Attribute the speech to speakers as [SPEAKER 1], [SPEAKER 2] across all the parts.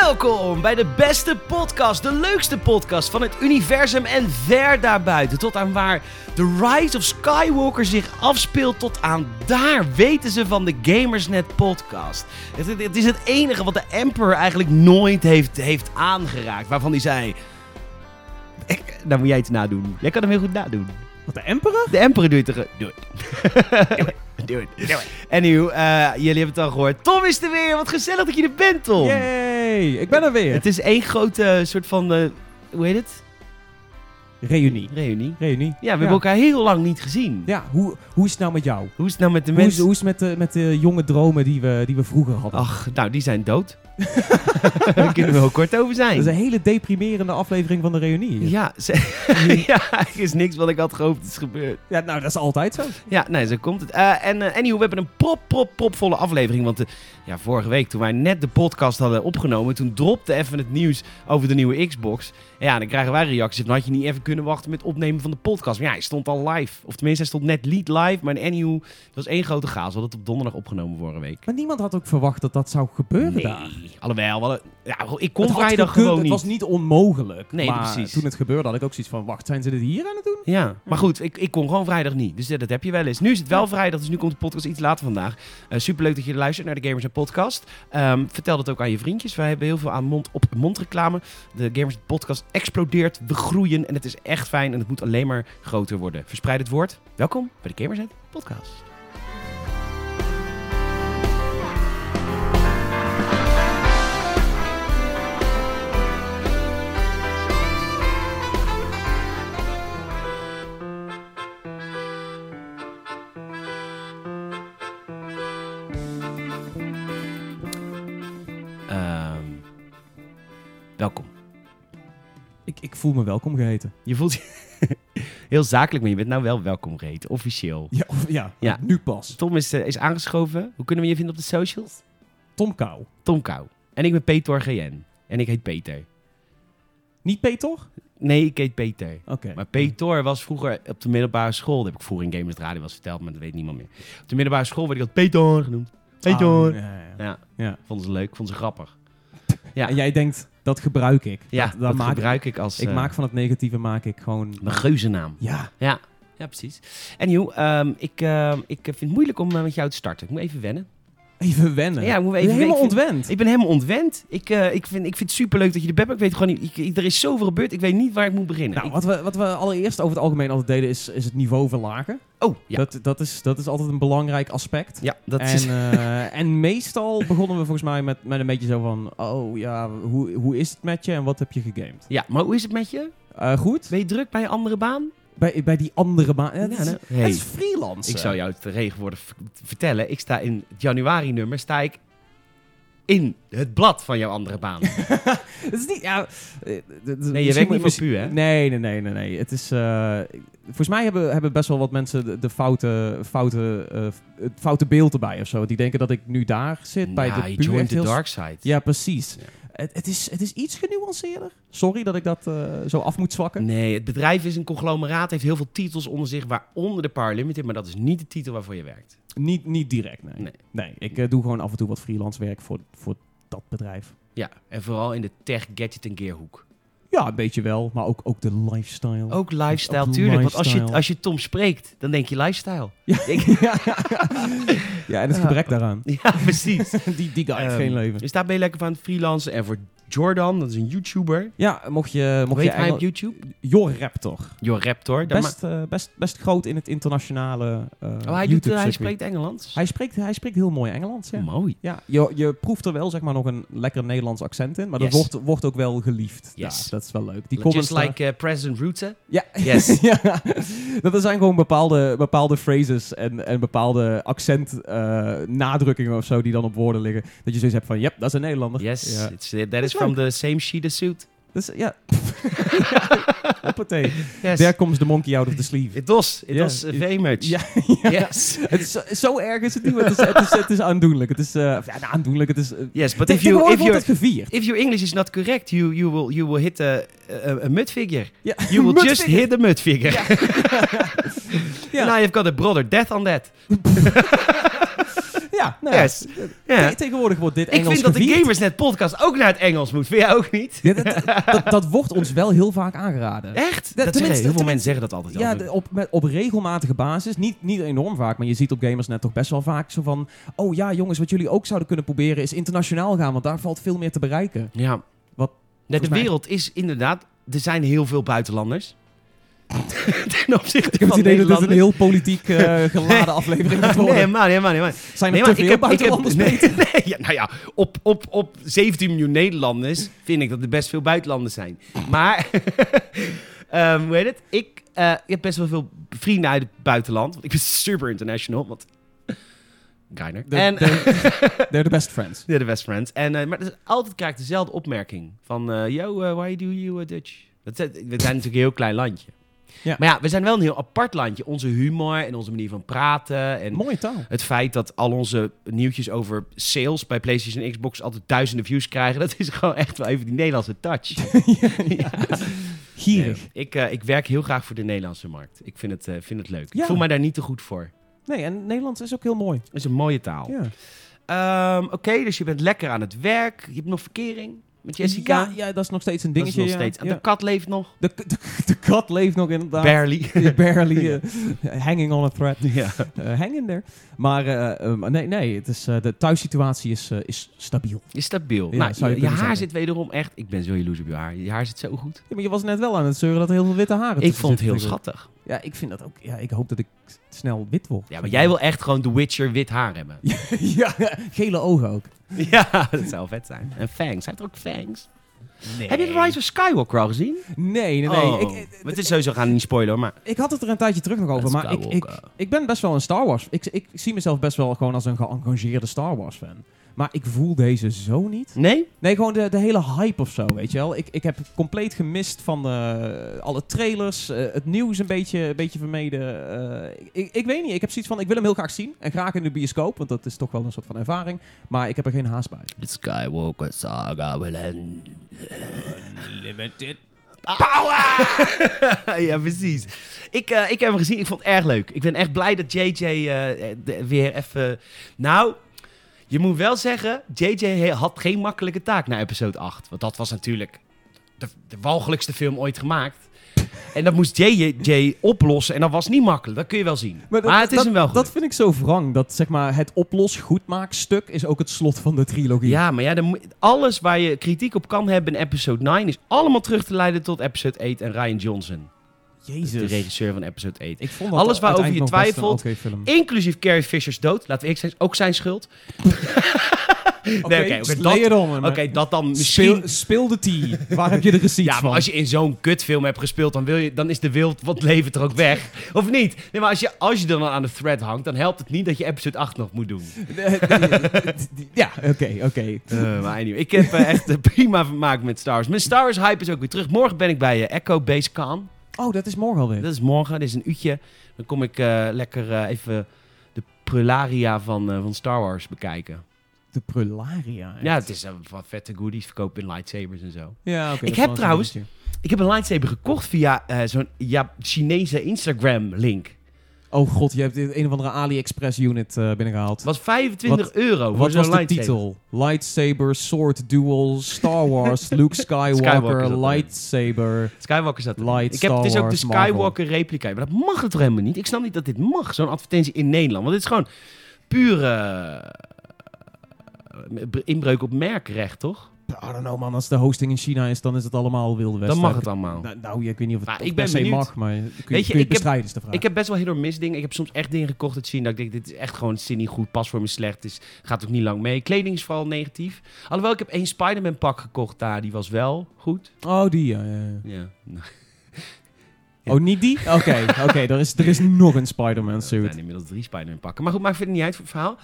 [SPEAKER 1] Welkom bij de beste podcast, de leukste podcast van het universum en ver daarbuiten. Tot aan waar de Rise of Skywalker zich afspeelt, tot aan daar weten ze van de Gamersnet podcast. Het, het- het is het enige wat de Emperor eigenlijk nooit heeft, heeft aangeraakt. Waarvan hij zei, ik, nou moet jij iets nadoen. Jij kan hem heel goed nadoen.
[SPEAKER 2] Wat, de Emperor?
[SPEAKER 1] De Emperor doet het. Doe het. Doe het.
[SPEAKER 2] Ja,
[SPEAKER 1] Anywho, eh, jullie hebben het al gehoord. Tom is er weer. Wat gezellig dat je er bent, Tom.
[SPEAKER 2] Yay, ik ben er weer.
[SPEAKER 1] Het is één grote soort van, eh, hoe heet het?
[SPEAKER 2] Reunie.
[SPEAKER 1] Reunie.
[SPEAKER 2] Reunie.
[SPEAKER 1] Ja, we hebben elkaar heel lang niet gezien.
[SPEAKER 2] Ja, hoe, hoe is het nou met jou?
[SPEAKER 1] Hoe is het nou met de
[SPEAKER 2] Hoe is,
[SPEAKER 1] mensen?
[SPEAKER 2] hoe is het met de, met de jonge dromen die we, die we vroeger hadden?
[SPEAKER 1] Ach, nou, die zijn dood. Daar kunnen we heel kort over zijn.
[SPEAKER 2] Dat is een hele deprimerende aflevering van de Reunie.
[SPEAKER 1] Ja, ze- ja, er is niks wat ik had gehoopt is gebeurd.
[SPEAKER 2] Ja, nou, dat is altijd zo.
[SPEAKER 1] Ja, nee, zo komt het. Eh, en eh, anywho, we hebben een prop, prop, propvolle aflevering. Want eh, ja, vorige week toen wij net de podcast hadden opgenomen, toen dropte even het nieuws over de nieuwe Xbox. En ja, dan krijgen wij reacties. Dan had je niet even kunnen wachten met opnemen van de podcast. Maar ja, hij stond al live. Of tenminste, hij stond net lead live. Maar anywho, dat was één grote chaos. We hadden het op donderdag opgenomen vorige week.
[SPEAKER 2] Maar niemand had ook verwacht dat dat zou gebeuren daar.
[SPEAKER 1] alhoewel. wel. ja, ik kon
[SPEAKER 2] Het had
[SPEAKER 1] vrijdag
[SPEAKER 2] gekund,
[SPEAKER 1] gewoon niet.
[SPEAKER 2] Het was niet onmogelijk.
[SPEAKER 1] Nee,
[SPEAKER 2] maar
[SPEAKER 1] precies.
[SPEAKER 2] toen het gebeurde had ik ook zoiets van, wacht, zijn ze dit hier aan het doen?
[SPEAKER 1] Ja, maar goed, ik, ik kon gewoon vrijdag niet. Dus eh, dat heb je wel eens. Nu is het wel vrijdag, dus nu komt de podcast iets later vandaag. Eh, superleuk dat je luistert naar de Gamers en Podcast. Ehm, vertel dat ook aan je vriendjes. Wij hebben heel veel aan mond op mond reclame. De Gamers en Podcast explodeert, we groeien en het is echt fijn en het moet alleen maar groter worden. Verspreid het woord. Welkom bij de Gamers en Podcast. Ehm, welkom.
[SPEAKER 2] Ik, ik voel me welkom geheten.
[SPEAKER 1] Je voelt je heel zakelijk, maar je bent nou wel welkom geheten, officieel.
[SPEAKER 2] Ja, of- ja,
[SPEAKER 1] Ja.
[SPEAKER 2] nu pas.
[SPEAKER 1] Tom is, eh, is aangeschoven. Hoe kunnen we je vinden op de socials?
[SPEAKER 2] Tom Kou.
[SPEAKER 1] Tom Kou. En ik ben Peter GN. En ik heet Peter.
[SPEAKER 2] Niet Peter? Oké.
[SPEAKER 1] Nee, ik heet Peter. Maar Peter was vroeger op de middelbare school. Dat heb ik vroeger in Gamers Radio wel eens verteld, maar dat weet niemand meer. Op de middelbare school werd ik altijd Peter genoemd.
[SPEAKER 2] Ah,
[SPEAKER 1] Peter.
[SPEAKER 2] ja, ja, ja.
[SPEAKER 1] Ja.
[SPEAKER 2] Ja.
[SPEAKER 1] Vonden ze leuk, vonden ze grappig. Ja.
[SPEAKER 2] En jij denkt, dat gebruik ik.
[SPEAKER 1] Ja,
[SPEAKER 2] dat,
[SPEAKER 1] dat,
[SPEAKER 2] dat maak ik.
[SPEAKER 1] gebruik ik als
[SPEAKER 2] Ik
[SPEAKER 1] eh,
[SPEAKER 2] maak van het negatieve maak ik gewoon...
[SPEAKER 1] mijn geuzennaam.
[SPEAKER 2] Ja.
[SPEAKER 1] Ja, ja precies. Anywho, ehm ik, ehm, ik eh, vind het moeilijk om eh, met jou te starten. Ik moet even wennen.
[SPEAKER 2] Even wennen.
[SPEAKER 1] Ja, moeten we
[SPEAKER 2] Ik ben
[SPEAKER 1] even-
[SPEAKER 2] helemaal
[SPEAKER 1] ik vind-
[SPEAKER 2] ontwend.
[SPEAKER 1] Ik ben helemaal ontwend. Ik, eh, ik, vind, ik vind het superleuk dat je er bent, maar ik weet gewoon niet... ik- ik- er is zoveel gebeurd, ik weet niet waar ik moet beginnen.
[SPEAKER 2] nou,
[SPEAKER 1] Ik-
[SPEAKER 2] wat we, wat we allereerst over het algemeen altijd deden is, is het niveau verlagen.
[SPEAKER 1] oh, ja.
[SPEAKER 2] Dat, dat, is, dat is altijd een belangrijk aspect.
[SPEAKER 1] ja, dat
[SPEAKER 2] en,
[SPEAKER 1] is...
[SPEAKER 2] eh, en meestal begonnen we volgens mij met, met een beetje zo van... Oh ja, hoe, hoe is het met je en wat heb je gegamed?
[SPEAKER 1] Ja, maar hoe is het met je?
[SPEAKER 2] Eh, goed?
[SPEAKER 1] Ben je druk bij je andere baan?
[SPEAKER 2] Bij, bij die andere baan... Het,
[SPEAKER 1] Ja,
[SPEAKER 2] is,
[SPEAKER 1] nou,
[SPEAKER 2] het
[SPEAKER 1] hey.
[SPEAKER 2] is freelance.
[SPEAKER 1] Ik zou jou het tegenwoordig v- vertellen. Ik sta in het januari-nummer, sta ik in het blad van jouw andere baan.
[SPEAKER 2] Het is niet... Ja, eh, nee,
[SPEAKER 1] Nee, je werkt niet voor pu, hè?
[SPEAKER 2] Nee, nee, nee, nee, nee. Het is, eh, volgens mij hebben, hebben best wel wat mensen de, de foute, foute, eh, het foute beeld erbij of zo. Die denken dat ik nu daar zit bij
[SPEAKER 1] Nou,
[SPEAKER 2] de
[SPEAKER 1] je
[SPEAKER 2] pu.
[SPEAKER 1] joint
[SPEAKER 2] echt
[SPEAKER 1] the
[SPEAKER 2] heel-
[SPEAKER 1] dark side.
[SPEAKER 2] Ja, precies.
[SPEAKER 1] Ja.
[SPEAKER 2] Het, het, is, het is iets genuanceerder. Sorry dat ik dat eh, zo af moet zwakken.
[SPEAKER 1] Nee, het bedrijf is een conglomeraat, heeft heel veel titels onder zich, waaronder de Power Limited, maar dat is niet de titel waarvoor je werkt.
[SPEAKER 2] Niet, niet direct, nee.
[SPEAKER 1] Nee.
[SPEAKER 2] Nee, ik eh, doe gewoon af en toe wat freelance werk voor, voor dat bedrijf.
[SPEAKER 1] Ja, en vooral in de tech, gadget en gearhoek.
[SPEAKER 2] Ja, een beetje wel, maar ook, ook de lifestyle.
[SPEAKER 1] Ook lifestyle,
[SPEAKER 2] Ook
[SPEAKER 1] tuurlijk. Want als je,
[SPEAKER 2] lifestyle.
[SPEAKER 1] als je Tom spreekt, dan denk je lifestyle.
[SPEAKER 2] ja, en het gebrek daaraan.
[SPEAKER 1] Ja, precies.
[SPEAKER 2] Die, die guy heeft
[SPEAKER 1] Ah. Ehm,
[SPEAKER 2] geen leven.
[SPEAKER 1] Dus daar ben je lekker van aan het freelancen. En voor Jordan, dat is een YouTuber.
[SPEAKER 2] Ja, mocht je... Mocht
[SPEAKER 1] Hoe
[SPEAKER 2] je
[SPEAKER 1] heet hij op
[SPEAKER 2] Engel...
[SPEAKER 1] YouTube?
[SPEAKER 2] Jor Raptor.
[SPEAKER 1] Jor Raptor. dat ma-
[SPEAKER 2] Best, eh, best, best groot in het internationale eh
[SPEAKER 1] oh, hij, doet,
[SPEAKER 2] YouTube
[SPEAKER 1] eh, hij
[SPEAKER 2] circuit.
[SPEAKER 1] spreekt Engelands.
[SPEAKER 2] hij spreekt... Hij spreekt heel mooi Engels, ja.
[SPEAKER 1] Mooi.
[SPEAKER 2] Ja, je, je proeft er wel zeg maar nog een lekker Nederlands accent in, maar
[SPEAKER 1] Yes.
[SPEAKER 2] dat wordt, wordt ook wel geliefd.
[SPEAKER 1] Yes.
[SPEAKER 2] daar. dat is wel leuk. Die
[SPEAKER 1] Just
[SPEAKER 2] comments daar-
[SPEAKER 1] like eh, President Rutte.
[SPEAKER 2] Ja.
[SPEAKER 1] Yes.
[SPEAKER 2] ja, dat er zijn gewoon bepaalde, bepaalde phrases en, en bepaalde accent eh, nadrukkingen of zo die dan op woorden liggen. Dat je zoiets hebt van, yep, dat is een Nederlander.
[SPEAKER 1] Yes,
[SPEAKER 2] Ja.
[SPEAKER 1] it's, eh, that is from the same sheet as suit.
[SPEAKER 2] Dus ja, hoppatee.
[SPEAKER 1] Yes.
[SPEAKER 2] There comes the monkey out of the sleeve.
[SPEAKER 1] It was, it
[SPEAKER 2] Ja,
[SPEAKER 1] was eh,
[SPEAKER 2] it-
[SPEAKER 1] very much.
[SPEAKER 2] Ja, ja.
[SPEAKER 1] Yes.
[SPEAKER 2] Het is, zo- zo erg is het niet, maar het is, het is, het is aandoenlijk. Het is, eh, ja, nou, aandoenlijk, het is... eh,
[SPEAKER 1] Yes, but if
[SPEAKER 2] tegenwoordig
[SPEAKER 1] you, if
[SPEAKER 2] wordt
[SPEAKER 1] you,
[SPEAKER 2] het gevierd.
[SPEAKER 1] if your English is not correct, you, you, will, you will hit a, a, a mud figure.
[SPEAKER 2] Ja,
[SPEAKER 1] You will
[SPEAKER 2] mut
[SPEAKER 1] just
[SPEAKER 2] figure.
[SPEAKER 1] hit the mud figure.
[SPEAKER 2] Ja.
[SPEAKER 1] Now you've got a brother death on that.
[SPEAKER 2] Ja, nou ja.
[SPEAKER 1] Yes.
[SPEAKER 2] Het
[SPEAKER 1] Ja.
[SPEAKER 2] Te- Tegenwoordig wordt dit
[SPEAKER 1] Ik
[SPEAKER 2] Engels
[SPEAKER 1] vind dat de
[SPEAKER 2] gevierd.
[SPEAKER 1] Gamersnet podcast ook naar het Engels moet. Vind jij ook niet?
[SPEAKER 2] Ja, dat, dat, dat wordt ons wel heel vaak aangeraden.
[SPEAKER 1] Echt?
[SPEAKER 2] Ja,
[SPEAKER 1] Dat zeggen,
[SPEAKER 2] tenminste-
[SPEAKER 1] heel veel
[SPEAKER 2] tenminste-
[SPEAKER 1] mensen zeggen dat altijd.
[SPEAKER 2] Ja,
[SPEAKER 1] al.
[SPEAKER 2] de- op, met, op regelmatige basis. Niet, niet enorm vaak, maar je ziet op gamers net toch best wel vaak zo van... Oh ja, jongens, wat jullie ook zouden kunnen proberen is internationaal gaan. Want daar valt veel meer te bereiken.
[SPEAKER 1] ja.
[SPEAKER 2] Wat-
[SPEAKER 1] Nee, de
[SPEAKER 2] volgens mij-
[SPEAKER 1] wereld is inderdaad... Er zijn heel veel buitenlanders. Ten opzichte
[SPEAKER 2] Ik heb
[SPEAKER 1] van
[SPEAKER 2] het idee dat dit een
[SPEAKER 1] Nederlanders.
[SPEAKER 2] heel politiek eh, geladen aflevering gaat worden.
[SPEAKER 1] Nee, maar, nee, maar, nee, maar.
[SPEAKER 2] Zijn er
[SPEAKER 1] Nee, maar
[SPEAKER 2] te veel
[SPEAKER 1] ik heb, ik heb,
[SPEAKER 2] buitenlanders
[SPEAKER 1] nee, nee, ja, nou ja, op, op, op 17 miljoen Nederlanders vind ik dat er best veel buitenlanders zijn. Maar, ehm, hoe heet het? Ik, eh, ik heb best wel veel vrienden uit het buitenland. Want ik ben super international, want... Geiner.
[SPEAKER 2] They're,
[SPEAKER 1] En,
[SPEAKER 2] they're- they're the best friends.
[SPEAKER 1] Ja, de best friends. En, eh, maar dus altijd krijg ik dezelfde opmerking. Van, eh, yo, eh, why do you eh, Dutch? Dat, zijn- we zijn natuurlijk een heel klein landje.
[SPEAKER 2] Ja.
[SPEAKER 1] Maar ja, we zijn wel een heel apart landje. Onze humor en onze manier van praten. En
[SPEAKER 2] Mooie taal.
[SPEAKER 1] het feit dat al onze nieuwtjes over sales bij PlayStation en Xbox altijd duizenden views krijgen. Dat is gewoon echt wel even die Nederlandse touch.
[SPEAKER 2] Gierig.
[SPEAKER 1] Nee, ik, eh, ik werk heel graag voor de Nederlandse markt. Ik vind het, eh, vind het leuk. Ik
[SPEAKER 2] Ja.
[SPEAKER 1] voel mij daar niet te goed voor.
[SPEAKER 2] Nee, en Nederlands is ook heel mooi.
[SPEAKER 1] Het is een mooie taal.
[SPEAKER 2] Ja.
[SPEAKER 1] Ehm, Oké, dus je bent lekker aan het werk. Je hebt nog verkering met Jessica.
[SPEAKER 2] Ja, ja, dat is nog steeds een
[SPEAKER 1] Dat is
[SPEAKER 2] dingetje.
[SPEAKER 1] nog
[SPEAKER 2] ja.
[SPEAKER 1] steeds. En
[SPEAKER 2] Ja.
[SPEAKER 1] de kat leeft nog.
[SPEAKER 2] De, de, de kat leeft nog inderdaad.
[SPEAKER 1] Barely.
[SPEAKER 2] Barely eh, hanging on a thread.
[SPEAKER 1] ja.
[SPEAKER 2] Eh, hang in there. Maar eh, eh, nee, nee het is, eh, de thuissituatie is, eh, is stabiel.
[SPEAKER 1] Is stabiel.
[SPEAKER 2] Ja,
[SPEAKER 1] nou,
[SPEAKER 2] zou je
[SPEAKER 1] je, je
[SPEAKER 2] kunnen
[SPEAKER 1] haar
[SPEAKER 2] zeggen.
[SPEAKER 1] zit wederom echt... Ik ben zo jaloers op je haar. Je haar zit zo goed.
[SPEAKER 2] Ja, maar je was net wel aan het zeuren dat er heel veel witte haren
[SPEAKER 1] ik
[SPEAKER 2] tussen
[SPEAKER 1] vond het heel
[SPEAKER 2] zitten.
[SPEAKER 1] schattig.
[SPEAKER 2] Ja, ik vind dat ook. Ja, ik hoop dat ik s- snel wit word.
[SPEAKER 1] Ja, maar jij wil echt gewoon The Witcher wit haar hebben.
[SPEAKER 2] ja, gele ogen ook.
[SPEAKER 1] Ja, dat zou vet zijn. En fangs. Hij heeft ook fangs.
[SPEAKER 2] Nee.
[SPEAKER 1] Heb je The Rise of Skywalker al gezien?
[SPEAKER 2] Nee, nee, nee.
[SPEAKER 1] Oh.
[SPEAKER 2] Ik, ik,
[SPEAKER 1] Maar het is sowieso gaan we niet spoilen, hoor, maar...
[SPEAKER 2] ik had het er een tijdje terug nog over,
[SPEAKER 1] Let's
[SPEAKER 2] maar ik,
[SPEAKER 1] go,
[SPEAKER 2] ik,
[SPEAKER 1] Walker.
[SPEAKER 2] ik ben best wel een Star Wars. Ik, ik zie mezelf best wel gewoon als een geëngageerde Star Wars fan. Maar ik voel deze zo niet.
[SPEAKER 1] Nee?
[SPEAKER 2] Nee, gewoon de, de hele hype of zo, weet je wel. Ik, ik heb compleet gemist van eh, alle trailers, eh, het nieuws een beetje, een beetje vermeden. Eh, ik, ik weet niet, ik heb zoiets van, ik wil hem heel graag zien. En graag in de bioscoop, want dat is toch wel een soort van ervaring. Maar ik heb er geen haast bij.
[SPEAKER 1] The Skywalker saga will end.
[SPEAKER 2] Limited.
[SPEAKER 1] Power! ja, precies. Ik, eh, ik heb hem gezien. Ik vond het erg leuk. Ik ben echt blij dat JJ eh, de- weer even... Nou, je moet wel zeggen... JJ he- had geen makkelijke taak na episode 8. Want dat was natuurlijk de, de walgelijkste film ooit gemaakt. En dat moest JJ oplossen. En dat was niet makkelijk. Dat kun je wel zien. Maar,
[SPEAKER 2] dat-
[SPEAKER 1] het is
[SPEAKER 2] dat-
[SPEAKER 1] hem wel gelukt.
[SPEAKER 2] Dat vind ik zo wrang, dat zeg maar het oplos goedmaakstuk is ook het slot van de trilogie.
[SPEAKER 1] Ja, maar ja, dan moet- alles waar je kritiek op kan hebben in episode 9 is allemaal terug te leiden tot episode 8 en Ryan Johnson, de
[SPEAKER 2] Jezus.
[SPEAKER 1] regisseur van episode 8.
[SPEAKER 2] Ik vond
[SPEAKER 1] Alles waarover je
[SPEAKER 2] uiteindelijk nog best
[SPEAKER 1] twijfelt,
[SPEAKER 2] een oké film.
[SPEAKER 1] Inclusief Carrie Fisher's dood. Laten we eerlijk zijn, is ook zijn schuld.
[SPEAKER 2] Oké,
[SPEAKER 1] oké, dus oké,
[SPEAKER 2] slay
[SPEAKER 1] dat-
[SPEAKER 2] it on,
[SPEAKER 1] Oké,
[SPEAKER 2] maar-
[SPEAKER 1] dat dan misschien...
[SPEAKER 2] Speel, speel de tea. Waar heb je de receipts
[SPEAKER 1] Ja,
[SPEAKER 2] van?
[SPEAKER 1] maar als je in zo'n kutfilm hebt gespeeld, dan, wil je, dan is de wild wat levert er ook weg. Of niet? Nee, maar als je, als je dan aan de thread hangt, dan helpt het niet dat je episode 8 nog moet doen.
[SPEAKER 2] ja, oké, oké.
[SPEAKER 1] Eh, maar anyway, ik heb eh, echt eh, prima vermaakt met Star Wars. Mijn Star Wars hype is ook weer terug. Morgen ben ik bij eh, Echo Basecamp.
[SPEAKER 2] Oh, dat is morgen alweer.
[SPEAKER 1] Dat is morgen, dit is een uurtje. Dan kom ik eh, lekker eh, even de prularia van, eh, van Star Wars bekijken.
[SPEAKER 2] De prularia. hè?
[SPEAKER 1] Ja, het is eh, wat vette goodies verkopen in lightsabers en zo.
[SPEAKER 2] ja oké,
[SPEAKER 1] Ik
[SPEAKER 2] dat is
[SPEAKER 1] heb
[SPEAKER 2] wel een
[SPEAKER 1] trouwens-
[SPEAKER 2] dingetje.
[SPEAKER 1] Ik heb een lightsaber gekocht via eh, zo'n ja, Chinese Instagram-link.
[SPEAKER 2] Oh god, je hebt dit een of andere AliExpress unit eh, binnengehaald.
[SPEAKER 1] Het was 25 euro voor
[SPEAKER 2] Wat
[SPEAKER 1] zo'n
[SPEAKER 2] was de
[SPEAKER 1] lightsaber.
[SPEAKER 2] titel? Lightsaber, Sword Duel, Star Wars, Luke Skywalker,
[SPEAKER 1] Skywalker zat erin.
[SPEAKER 2] Lightsaber.
[SPEAKER 1] Skywalker zat erin.
[SPEAKER 2] Light
[SPEAKER 1] Ik heb, het is
[SPEAKER 2] Star
[SPEAKER 1] ook de
[SPEAKER 2] Wars, Marvel.
[SPEAKER 1] Skywalker-replica. Maar dat mag het toch helemaal niet? Ik snap niet dat dit mag, zo'n advertentie in Nederland. Want dit is gewoon pure eh, inbreuk op merkrecht, toch?
[SPEAKER 2] I don't know man, als de hosting in China is, dan is het allemaal wilde
[SPEAKER 1] Dan
[SPEAKER 2] westen.
[SPEAKER 1] mag het allemaal.
[SPEAKER 2] Nou, nou, ik weet niet of het
[SPEAKER 1] Oh. Maar
[SPEAKER 2] of
[SPEAKER 1] ik
[SPEAKER 2] per
[SPEAKER 1] ben
[SPEAKER 2] se
[SPEAKER 1] benieuwd.
[SPEAKER 2] mag, maar kun je, kun je
[SPEAKER 1] ik
[SPEAKER 2] het
[SPEAKER 1] heb-
[SPEAKER 2] bestrijden is de vraag.
[SPEAKER 1] Ik heb best wel heel door misdingen. Ik heb soms echt dingen gekocht uit China. Dat ik denk, dit is echt gewoon zit niet goed. Pas voor me slecht. Dus gaat ook niet lang mee. Kleding is vooral negatief. Alhoewel, ik heb één Spider-Man pak gekocht daar. Die was wel goed.
[SPEAKER 2] Oh, die ja, ja, ja.
[SPEAKER 1] Ja. Nou, Ja.
[SPEAKER 2] Oh, niet die? Oké, oké. er, is, er is nog een Spider-Man
[SPEAKER 1] er
[SPEAKER 2] suit.
[SPEAKER 1] zijn inmiddels drie Spider-Man pakken. Maar goed, maakt verder niet uit voor het verhaal.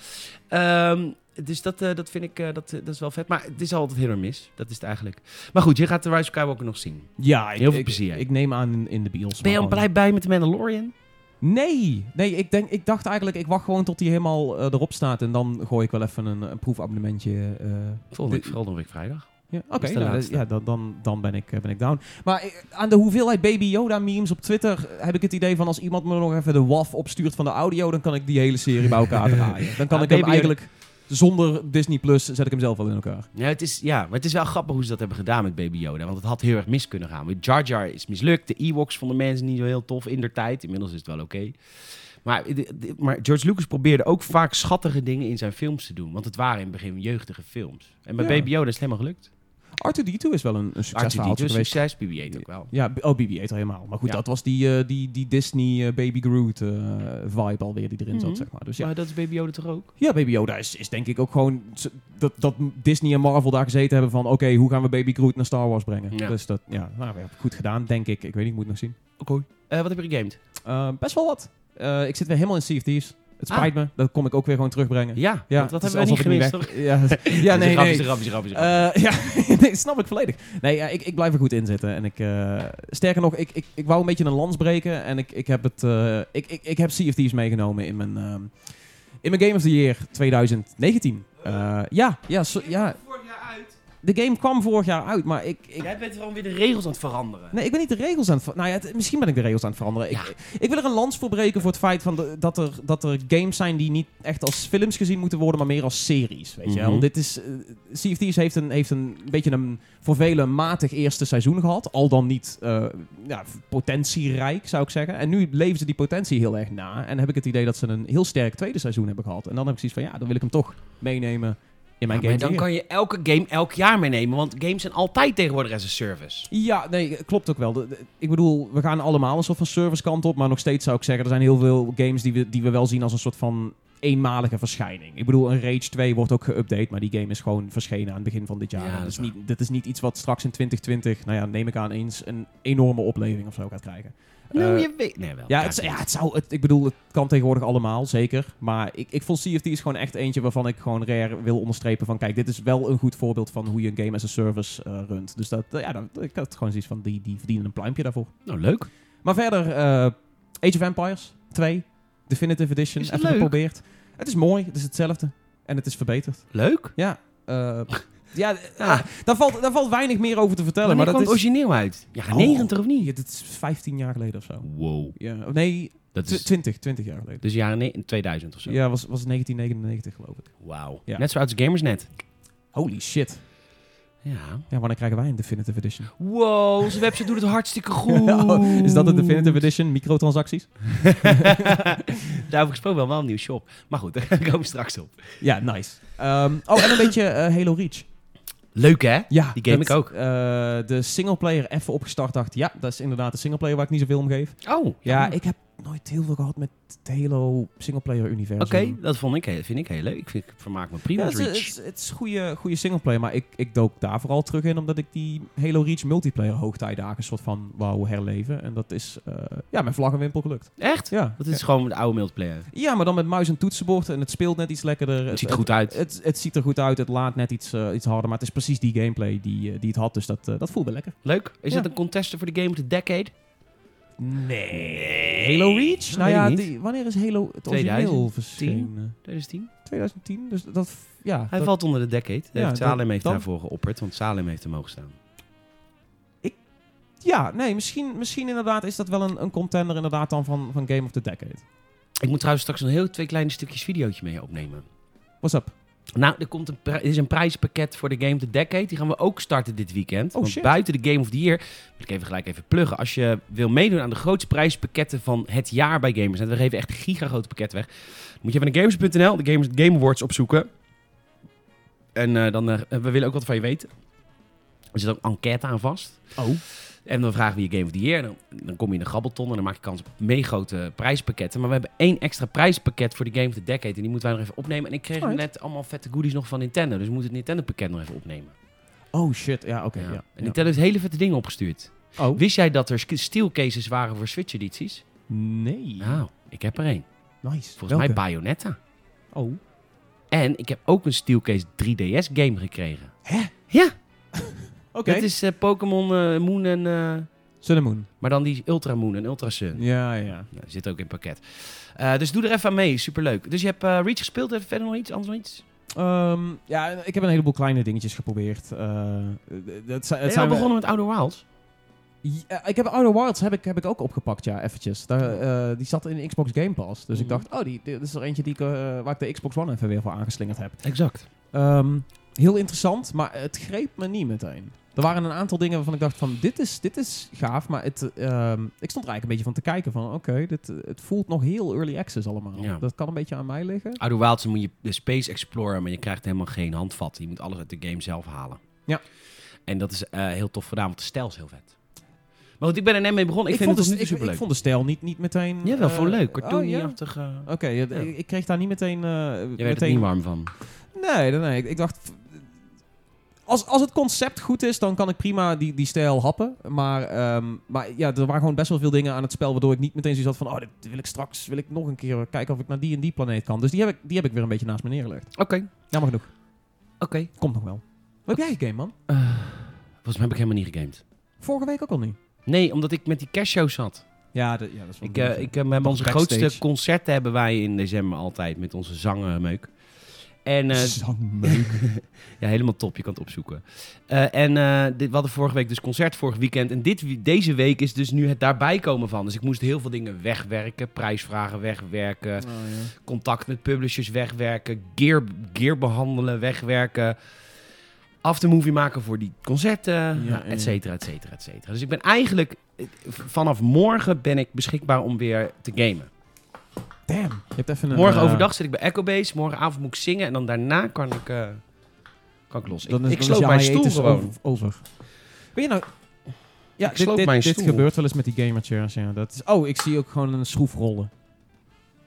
[SPEAKER 1] Ehm, dus dat, eh, dat vind ik eh, dat, eh, dat is wel vet. Maar het is altijd heel erg mis. Dat is het eigenlijk. Maar goed, je gaat de Rise of Skywalker nog zien.
[SPEAKER 2] Ja, ik,
[SPEAKER 1] Heel veel
[SPEAKER 2] ik-
[SPEAKER 1] plezier.
[SPEAKER 2] Ik, neem aan in, in de bios.
[SPEAKER 1] Ben je al
[SPEAKER 2] maar-
[SPEAKER 1] blij bij met de Mandalorian?
[SPEAKER 2] Nee, nee ik, denk, ik dacht eigenlijk, ik wacht gewoon tot hij helemaal eh, erop staat. En dan gooi ik wel even een, een proefabonnementje. eh,
[SPEAKER 1] Volgende
[SPEAKER 2] de-
[SPEAKER 1] week, volgende week vrijdag.
[SPEAKER 2] ja, Oké,
[SPEAKER 1] Dat is Dus de
[SPEAKER 2] nou, dat-
[SPEAKER 1] laatste.
[SPEAKER 2] ja, dan, dan, dan ben, ik, eh, ben ik down. Maar eh, aan de hoeveelheid Baby Yoda memes op Twitter eh, heb ik het idee van als iemand me nog even de WAF opstuurt van de audio, dan kan ik die hele serie bij elkaar draaien. Dan kan
[SPEAKER 1] Ja,
[SPEAKER 2] ik
[SPEAKER 1] Ah, Baby
[SPEAKER 2] hem
[SPEAKER 1] Yoda-
[SPEAKER 2] eigenlijk zonder Disney Plus zet ik hem zelf wel in elkaar.
[SPEAKER 1] Ja, het is, ja, maar het is wel grappig hoe ze dat hebben gedaan met Baby Yoda. Want het had heel erg mis kunnen gaan. Want Jar Jar is mislukt. De Ewoks vonden mensen niet zo heel tof in der tijd. Inmiddels is het wel oké. Maar, de- de- maar George Lucas probeerde ook vaak schattige dingen in zijn films te doen. Want het waren in het begin jeugdige films. En bij
[SPEAKER 2] Ja.
[SPEAKER 1] Baby Yoda is het helemaal gelukt.
[SPEAKER 2] R2D2 is wel een, een succesverhaal
[SPEAKER 1] Arthur
[SPEAKER 2] geweest.
[SPEAKER 1] succes, BB-8 ook wel.
[SPEAKER 2] Ja, B- oh, BB-8 al helemaal. Maar goed,
[SPEAKER 1] Ja.
[SPEAKER 2] dat was die, eh, die, die Disney eh, Baby Groot eh, vibe alweer die erin
[SPEAKER 1] Mhm.
[SPEAKER 2] zat, zeg maar. Dus ja,
[SPEAKER 1] Maar dat is Baby Yoda toch ook?
[SPEAKER 2] ja Baby Yoda is, is denk ik ook gewoon... z- Dat, dat Disney en Marvel daar gezeten hebben van... Oké, hoe gaan we Baby Groot naar Star Wars brengen?
[SPEAKER 1] Ja.
[SPEAKER 2] Dus dat, ja, nou, we hebben het goed gedaan, denk ik. Ik weet niet, moet nog zien.
[SPEAKER 1] Oké. wat heb je gegamed?
[SPEAKER 2] Eh, best wel wat. Eh, ik zit weer helemaal in Sea of Thieves. Het
[SPEAKER 1] Ah.
[SPEAKER 2] spijt me, dat kom ik ook weer gewoon terugbrengen.
[SPEAKER 1] Ja,
[SPEAKER 2] Ja,
[SPEAKER 1] want dat
[SPEAKER 2] het
[SPEAKER 1] hebben we
[SPEAKER 2] is
[SPEAKER 1] niet gemist,
[SPEAKER 2] alsof
[SPEAKER 1] toch?
[SPEAKER 2] het niet weg- Ja, ja nee, nee.
[SPEAKER 1] Rapjes, rapjes, rapjes,
[SPEAKER 2] Eh, ja, nee, snap ik volledig. Nee, ja, ik, ik blijf er goed in zitten. En ik, eh, sterker nog, ik, ik, ik wou een beetje een lans breken. En ik, ik heb het. eh, ik, ik, ik heb Sea of Thieves meegenomen in mijn. ehm, in mijn Game of the Year 2019. Eh, ja, ja, zo- ja.
[SPEAKER 1] Vorig jaar uit.
[SPEAKER 2] De game kwam vorig jaar uit, maar ik. ik
[SPEAKER 1] Jij bent gewoon weer de regels aan het veranderen.
[SPEAKER 2] Nee, ik ben niet de regels aan het ver- Nou ja, het- misschien ben ik de regels aan het veranderen.
[SPEAKER 1] Ja.
[SPEAKER 2] Ik, ik wil er een lans voor breken voor het feit van de- dat, er, dat er games zijn die niet echt als films gezien moeten worden, maar meer als series. Weet je wel?
[SPEAKER 1] Mhm.
[SPEAKER 2] Dit is. eh, Sea of Thieves heeft een, heeft een beetje een voor velen matig eerste seizoen gehad. Al dan niet eh, ja, potentierijk, zou ik zeggen. En nu leven ze die potentie heel erg na. En heb ik het idee dat ze een heel sterk tweede seizoen hebben gehad. En dan heb ik zoiets van ja, dan wil ik hem toch meenemen in mijn
[SPEAKER 1] Ja,
[SPEAKER 2] game.
[SPEAKER 1] maar
[SPEAKER 2] of the
[SPEAKER 1] dan
[SPEAKER 2] Year.
[SPEAKER 1] kan je elke game elk jaar meenemen, want games zijn altijd tegenwoordig as a service.
[SPEAKER 2] Ja, nee, klopt ook wel. De- de- ik bedoel, we gaan allemaal een soort van servicekant op. Maar nog steeds zou ik zeggen, er zijn heel veel games die we, die we wel zien als een soort van eenmalige verschijning. Ik bedoel, een Rage 2 wordt ook geüpdate, maar die game is gewoon verschenen aan het begin van dit jaar.
[SPEAKER 1] Ja, dat
[SPEAKER 2] dat,
[SPEAKER 1] is
[SPEAKER 2] is niet, dat is niet iets wat straks in 2020, nou ja, neem ik aan, eens een enorme opleving of zo gaat krijgen.
[SPEAKER 1] Nou,
[SPEAKER 2] Eh,
[SPEAKER 1] je weet... Nee, wel.
[SPEAKER 2] ja, het, ja, het zou, het, ik bedoel, het kan tegenwoordig allemaal, zeker. Maar ik, ik vond CFT is gewoon echt eentje waarvan ik gewoon rare wil onderstrepen van... Kijk, dit is wel een goed voorbeeld van hoe je een game as a service eh, runt. Dus dat, eh, ja, dan, ik had gewoon zoiets van, die, die verdienen een pluimpje daarvoor.
[SPEAKER 1] Nou, leuk.
[SPEAKER 2] Maar verder, eh, Age of Empires 2, Definitive Edition,
[SPEAKER 1] Is het
[SPEAKER 2] even
[SPEAKER 1] leuk?
[SPEAKER 2] geprobeerd. Het is mooi, het is hetzelfde. En het is verbeterd.
[SPEAKER 1] Leuk.
[SPEAKER 2] Ja, eh, ja, d-
[SPEAKER 1] Ja.
[SPEAKER 2] ah, daar, valt, daar valt weinig meer over te vertellen.
[SPEAKER 1] Wanneer
[SPEAKER 2] maar
[SPEAKER 1] kwam
[SPEAKER 2] dat
[SPEAKER 1] het
[SPEAKER 2] is,
[SPEAKER 1] origineel uit? Ja,
[SPEAKER 2] Oh.
[SPEAKER 1] 90 of niet?
[SPEAKER 2] Ja, dit is 15 jaar geleden of zo.
[SPEAKER 1] Wow.
[SPEAKER 2] Ja, of nee,
[SPEAKER 1] Dat
[SPEAKER 2] tw-
[SPEAKER 1] is
[SPEAKER 2] 20, 20 jaar geleden.
[SPEAKER 1] dus jaren ne- 2000 of zo.
[SPEAKER 2] Ja, was, was 1999 geloof ik.
[SPEAKER 1] Wauw.
[SPEAKER 2] Ja.
[SPEAKER 1] Net zo oud als Gamersnet.
[SPEAKER 2] Holy shit.
[SPEAKER 1] Ja.
[SPEAKER 2] Ja, wanneer krijgen wij een Definitive Edition?
[SPEAKER 1] Wow, onze website doet het hartstikke goed.
[SPEAKER 2] Oh, is dat een Definitive Edition? Microtransacties?
[SPEAKER 1] Daarover gesproken wel, wel een nieuw shop. Maar goed, daar komen we straks op.
[SPEAKER 2] Ja, nice. Ehm, oh, en een beetje eh, Halo Reach.
[SPEAKER 1] Leuk, hè?
[SPEAKER 2] Ja,
[SPEAKER 1] Die game
[SPEAKER 2] dat,
[SPEAKER 1] ik ook.
[SPEAKER 2] eh, de singleplayer even opgestart dacht, ja, dat is inderdaad de singleplayer waar ik niet zoveel om geef.
[SPEAKER 1] Oh.
[SPEAKER 2] Ja,
[SPEAKER 1] Oké,
[SPEAKER 2] ik heb nooit heel veel gehad met het Halo singleplayer universum.
[SPEAKER 1] dat vond ik, heel- vind ik heel leuk. Ik, vind, ik vermaak me prima
[SPEAKER 2] Ja,
[SPEAKER 1] met
[SPEAKER 2] het is,
[SPEAKER 1] Reach.
[SPEAKER 2] het is, het is goede, goede singleplayer, maar ik, ik dook daar vooral terug in omdat ik die Halo Reach multiplayer hoogtijdagen een soort van wou herleven. En dat is eh, ja, mijn vlag en wimpel gelukt.
[SPEAKER 1] Echt?
[SPEAKER 2] Ja,
[SPEAKER 1] Dat is gewoon de oude multiplayer.
[SPEAKER 2] Ja, maar dan met muis en toetsenbord en het speelt net iets lekkerder.
[SPEAKER 1] Het ziet er goed uit.
[SPEAKER 2] Het, het, het ziet er goed uit, het laat net iets, eh, iets harder, maar het is precies die gameplay die, eh, die het had, dus dat, eh, dat voelde lekker.
[SPEAKER 1] Leuk. Is
[SPEAKER 2] Ja.
[SPEAKER 1] dat een contester voor de Game of the Decade? Nee.
[SPEAKER 2] Halo Reach? Nou ja,
[SPEAKER 1] Weet ik niet.
[SPEAKER 2] die- wanneer is Halo het origineel
[SPEAKER 1] 2010?
[SPEAKER 2] verschenen?
[SPEAKER 1] 2010?
[SPEAKER 2] 2010, dus dat... Ja,
[SPEAKER 1] Hij
[SPEAKER 2] dat-
[SPEAKER 1] valt onder de decade.
[SPEAKER 2] Ja,
[SPEAKER 1] heeft Salem
[SPEAKER 2] dat-
[SPEAKER 1] heeft
[SPEAKER 2] dan-
[SPEAKER 1] daarvoor geopperd, want Salem heeft hem hoog staan.
[SPEAKER 2] ja nee, misschien, misschien inderdaad is dat wel een, een contender inderdaad dan van, van Game of the Decade.
[SPEAKER 1] Ik moet trouwens straks een heel twee kleine stukjes videootje mee opnemen.
[SPEAKER 2] What's up?
[SPEAKER 1] Nou, er, komt een pri- er is een prijzenpakket voor de Game of the Decade. Die gaan we ook starten dit weekend.
[SPEAKER 2] Oh,
[SPEAKER 1] want
[SPEAKER 2] shit.
[SPEAKER 1] buiten de Game of the Year, wil ik even gelijk even pluggen. Als je wil meedoen aan de grootste prijspakketten van het jaar bij Gamers. En we geven echt een gigagrote pakket weg. Dan moet je even naar gamers.nl, de Gamers Game Awards opzoeken. En eh, dan, eh, we willen ook wat van je weten. Er zit ook een enquête aan vast.
[SPEAKER 2] Oh.
[SPEAKER 1] En dan vragen we je Game of the Year. Dan, dan kom je in de grabbelton en dan maak je kans op meegrote prijspakketten. Maar we hebben één extra prijspakket voor de Game of the Decade. En die moeten wij nog even opnemen. En ik kreeg
[SPEAKER 2] Alright.
[SPEAKER 1] net allemaal vette goodies nog van Nintendo. Dus we moeten het Nintendo-pakket nog even opnemen.
[SPEAKER 2] Oh shit, ja, oké.
[SPEAKER 1] Ja.
[SPEAKER 2] ja.
[SPEAKER 1] En
[SPEAKER 2] ja.
[SPEAKER 1] Nintendo heeft hele vette dingen opgestuurd.
[SPEAKER 2] Oh.
[SPEAKER 1] Wist jij dat er sk- steelcases waren voor Switch-edities?
[SPEAKER 2] Nee.
[SPEAKER 1] Nou, ik heb er één.
[SPEAKER 2] Nice.
[SPEAKER 1] Volgens mij
[SPEAKER 2] Welke?
[SPEAKER 1] Bayonetta.
[SPEAKER 2] Oh.
[SPEAKER 1] En ik heb ook een steelcase 3DS-game gekregen. Ja,
[SPEAKER 2] Oké.
[SPEAKER 1] dat is eh, Pokémon eh, Moon en... eh,
[SPEAKER 2] Sun and Moon.
[SPEAKER 1] maar dan die Ultra Moon en Ultra Sun.
[SPEAKER 2] Ja, ja.
[SPEAKER 1] Nou, die zit ook in het pakket. Eh, dus doe er even aan mee, superleuk. Dus je hebt eh, Reach gespeeld, even verder nog iets, anders nog iets?
[SPEAKER 2] Ehm, ja, ik heb een heleboel kleine dingetjes geprobeerd. Eh, d- dat zijn,
[SPEAKER 1] Ben
[SPEAKER 2] het
[SPEAKER 1] je al
[SPEAKER 2] zijn we-
[SPEAKER 1] begonnen met Outer Wilds?
[SPEAKER 2] Ja, ik heb Outer Wilds heb ik, heb ik ook opgepakt, ja, eventjes. Daar, eh, die zat in Xbox Game Pass. Dus
[SPEAKER 1] Mhm.
[SPEAKER 2] ik dacht, oh, die, dit is er eentje die ik, eh, waar ik de Xbox One even weer voor aangeslingerd heb.
[SPEAKER 1] Exact.
[SPEAKER 2] Ehm, heel interessant, maar het greep me niet meteen. Er waren een aantal dingen waarvan ik dacht van, dit is, dit is gaaf. Maar het, ehm, ik stond er eigenlijk een beetje van te kijken van, oké, dit het voelt nog heel early access allemaal.
[SPEAKER 1] Ja.
[SPEAKER 2] Dat kan een beetje aan mij liggen.
[SPEAKER 1] Outer Wilds moet je de Space Explorer, maar je krijgt helemaal geen handvat. Je moet alles uit de game zelf halen.
[SPEAKER 2] Ja.
[SPEAKER 1] En dat is eh, heel tof gedaan, want de stijl is heel vet. Maar goed, ik ben er net mee begonnen. Ik, vind
[SPEAKER 2] vond
[SPEAKER 1] het
[SPEAKER 2] de,
[SPEAKER 1] tot nu toe
[SPEAKER 2] ik, ik
[SPEAKER 1] superleuk.
[SPEAKER 2] vond de stijl niet, niet meteen...
[SPEAKER 1] Ja, wel
[SPEAKER 2] eh,
[SPEAKER 1] voor leuk.
[SPEAKER 2] oh, ja?
[SPEAKER 1] Cartoony-achtig. eh,
[SPEAKER 2] Oké, ja, d- ik, ik kreeg daar niet meteen... eh
[SPEAKER 1] Je werd er
[SPEAKER 2] meteen
[SPEAKER 1] niet warm van.
[SPEAKER 2] Nee, nee, nee. Ik, ik dacht. f- Als, als het concept goed is, dan kan ik prima die, die stijl happen. Maar, ehm, maar ja, er waren gewoon best wel veel dingen aan het spel. Waardoor ik niet meteen zoiets had van: oh, dit wil ik straks. Wil ik nog een keer kijken of ik naar die en die planeet kan. Dus die heb ik, die heb ik weer een beetje naast me neergelegd.
[SPEAKER 1] Oké,
[SPEAKER 2] Jammer genoeg.
[SPEAKER 1] oké.
[SPEAKER 2] Komt nog wel. Wat heb jij game, man?
[SPEAKER 1] Volgens mij heb ik helemaal niet gegamed.
[SPEAKER 2] Vorige week ook al niet.
[SPEAKER 1] Nee, omdat ik met die cashshow zat.
[SPEAKER 2] Ja, dat- ja dat is wel
[SPEAKER 1] Ik,
[SPEAKER 2] een
[SPEAKER 1] eh,
[SPEAKER 2] beetje-
[SPEAKER 1] ik, eh, we hebben onze
[SPEAKER 2] backstage.
[SPEAKER 1] grootste concerten hebben wij in december altijd met onze zangenmeuk. En eh,
[SPEAKER 2] Zangmeuk.
[SPEAKER 1] ja, helemaal top, je kan het opzoeken. Eh, en eh, dit, we hadden vorige week dus concert, vorig weekend. En dit, wie- deze week is dus nu het daarbij komen van. Dus ik moest heel veel dingen wegwerken, prijsvragen wegwerken,
[SPEAKER 2] Oh, ja.
[SPEAKER 1] contact met publishers wegwerken, gear, gear behandelen wegwerken. Aftermovie maken voor die concerten, nou,
[SPEAKER 2] ja.
[SPEAKER 1] et cetera, et cetera, et cetera. Dus ik ben eigenlijk, eh, v- vanaf morgen ben ik beschikbaar om weer te gamen.
[SPEAKER 2] Damn. Je hebt even een,
[SPEAKER 1] Morgen
[SPEAKER 2] eh,
[SPEAKER 1] overdag zit ik bij Echo Base. Morgenavond moet ik zingen. En dan daarna kan ik, eh, kan ik los. Ik,
[SPEAKER 2] Dan is,
[SPEAKER 1] ik
[SPEAKER 2] dan
[SPEAKER 1] sloop
[SPEAKER 2] is je
[SPEAKER 1] mijn stoel
[SPEAKER 2] hiatus
[SPEAKER 1] gewoon.
[SPEAKER 2] Over, over. Weet je nou... Ja,
[SPEAKER 1] Ik
[SPEAKER 2] dit,
[SPEAKER 1] sloop
[SPEAKER 2] dit,
[SPEAKER 1] mijn
[SPEAKER 2] dit
[SPEAKER 1] stoel.
[SPEAKER 2] gebeurt wel eens met die gamerchairs. Ja. Dat is, oh, ik zie ook gewoon een schroef rollen.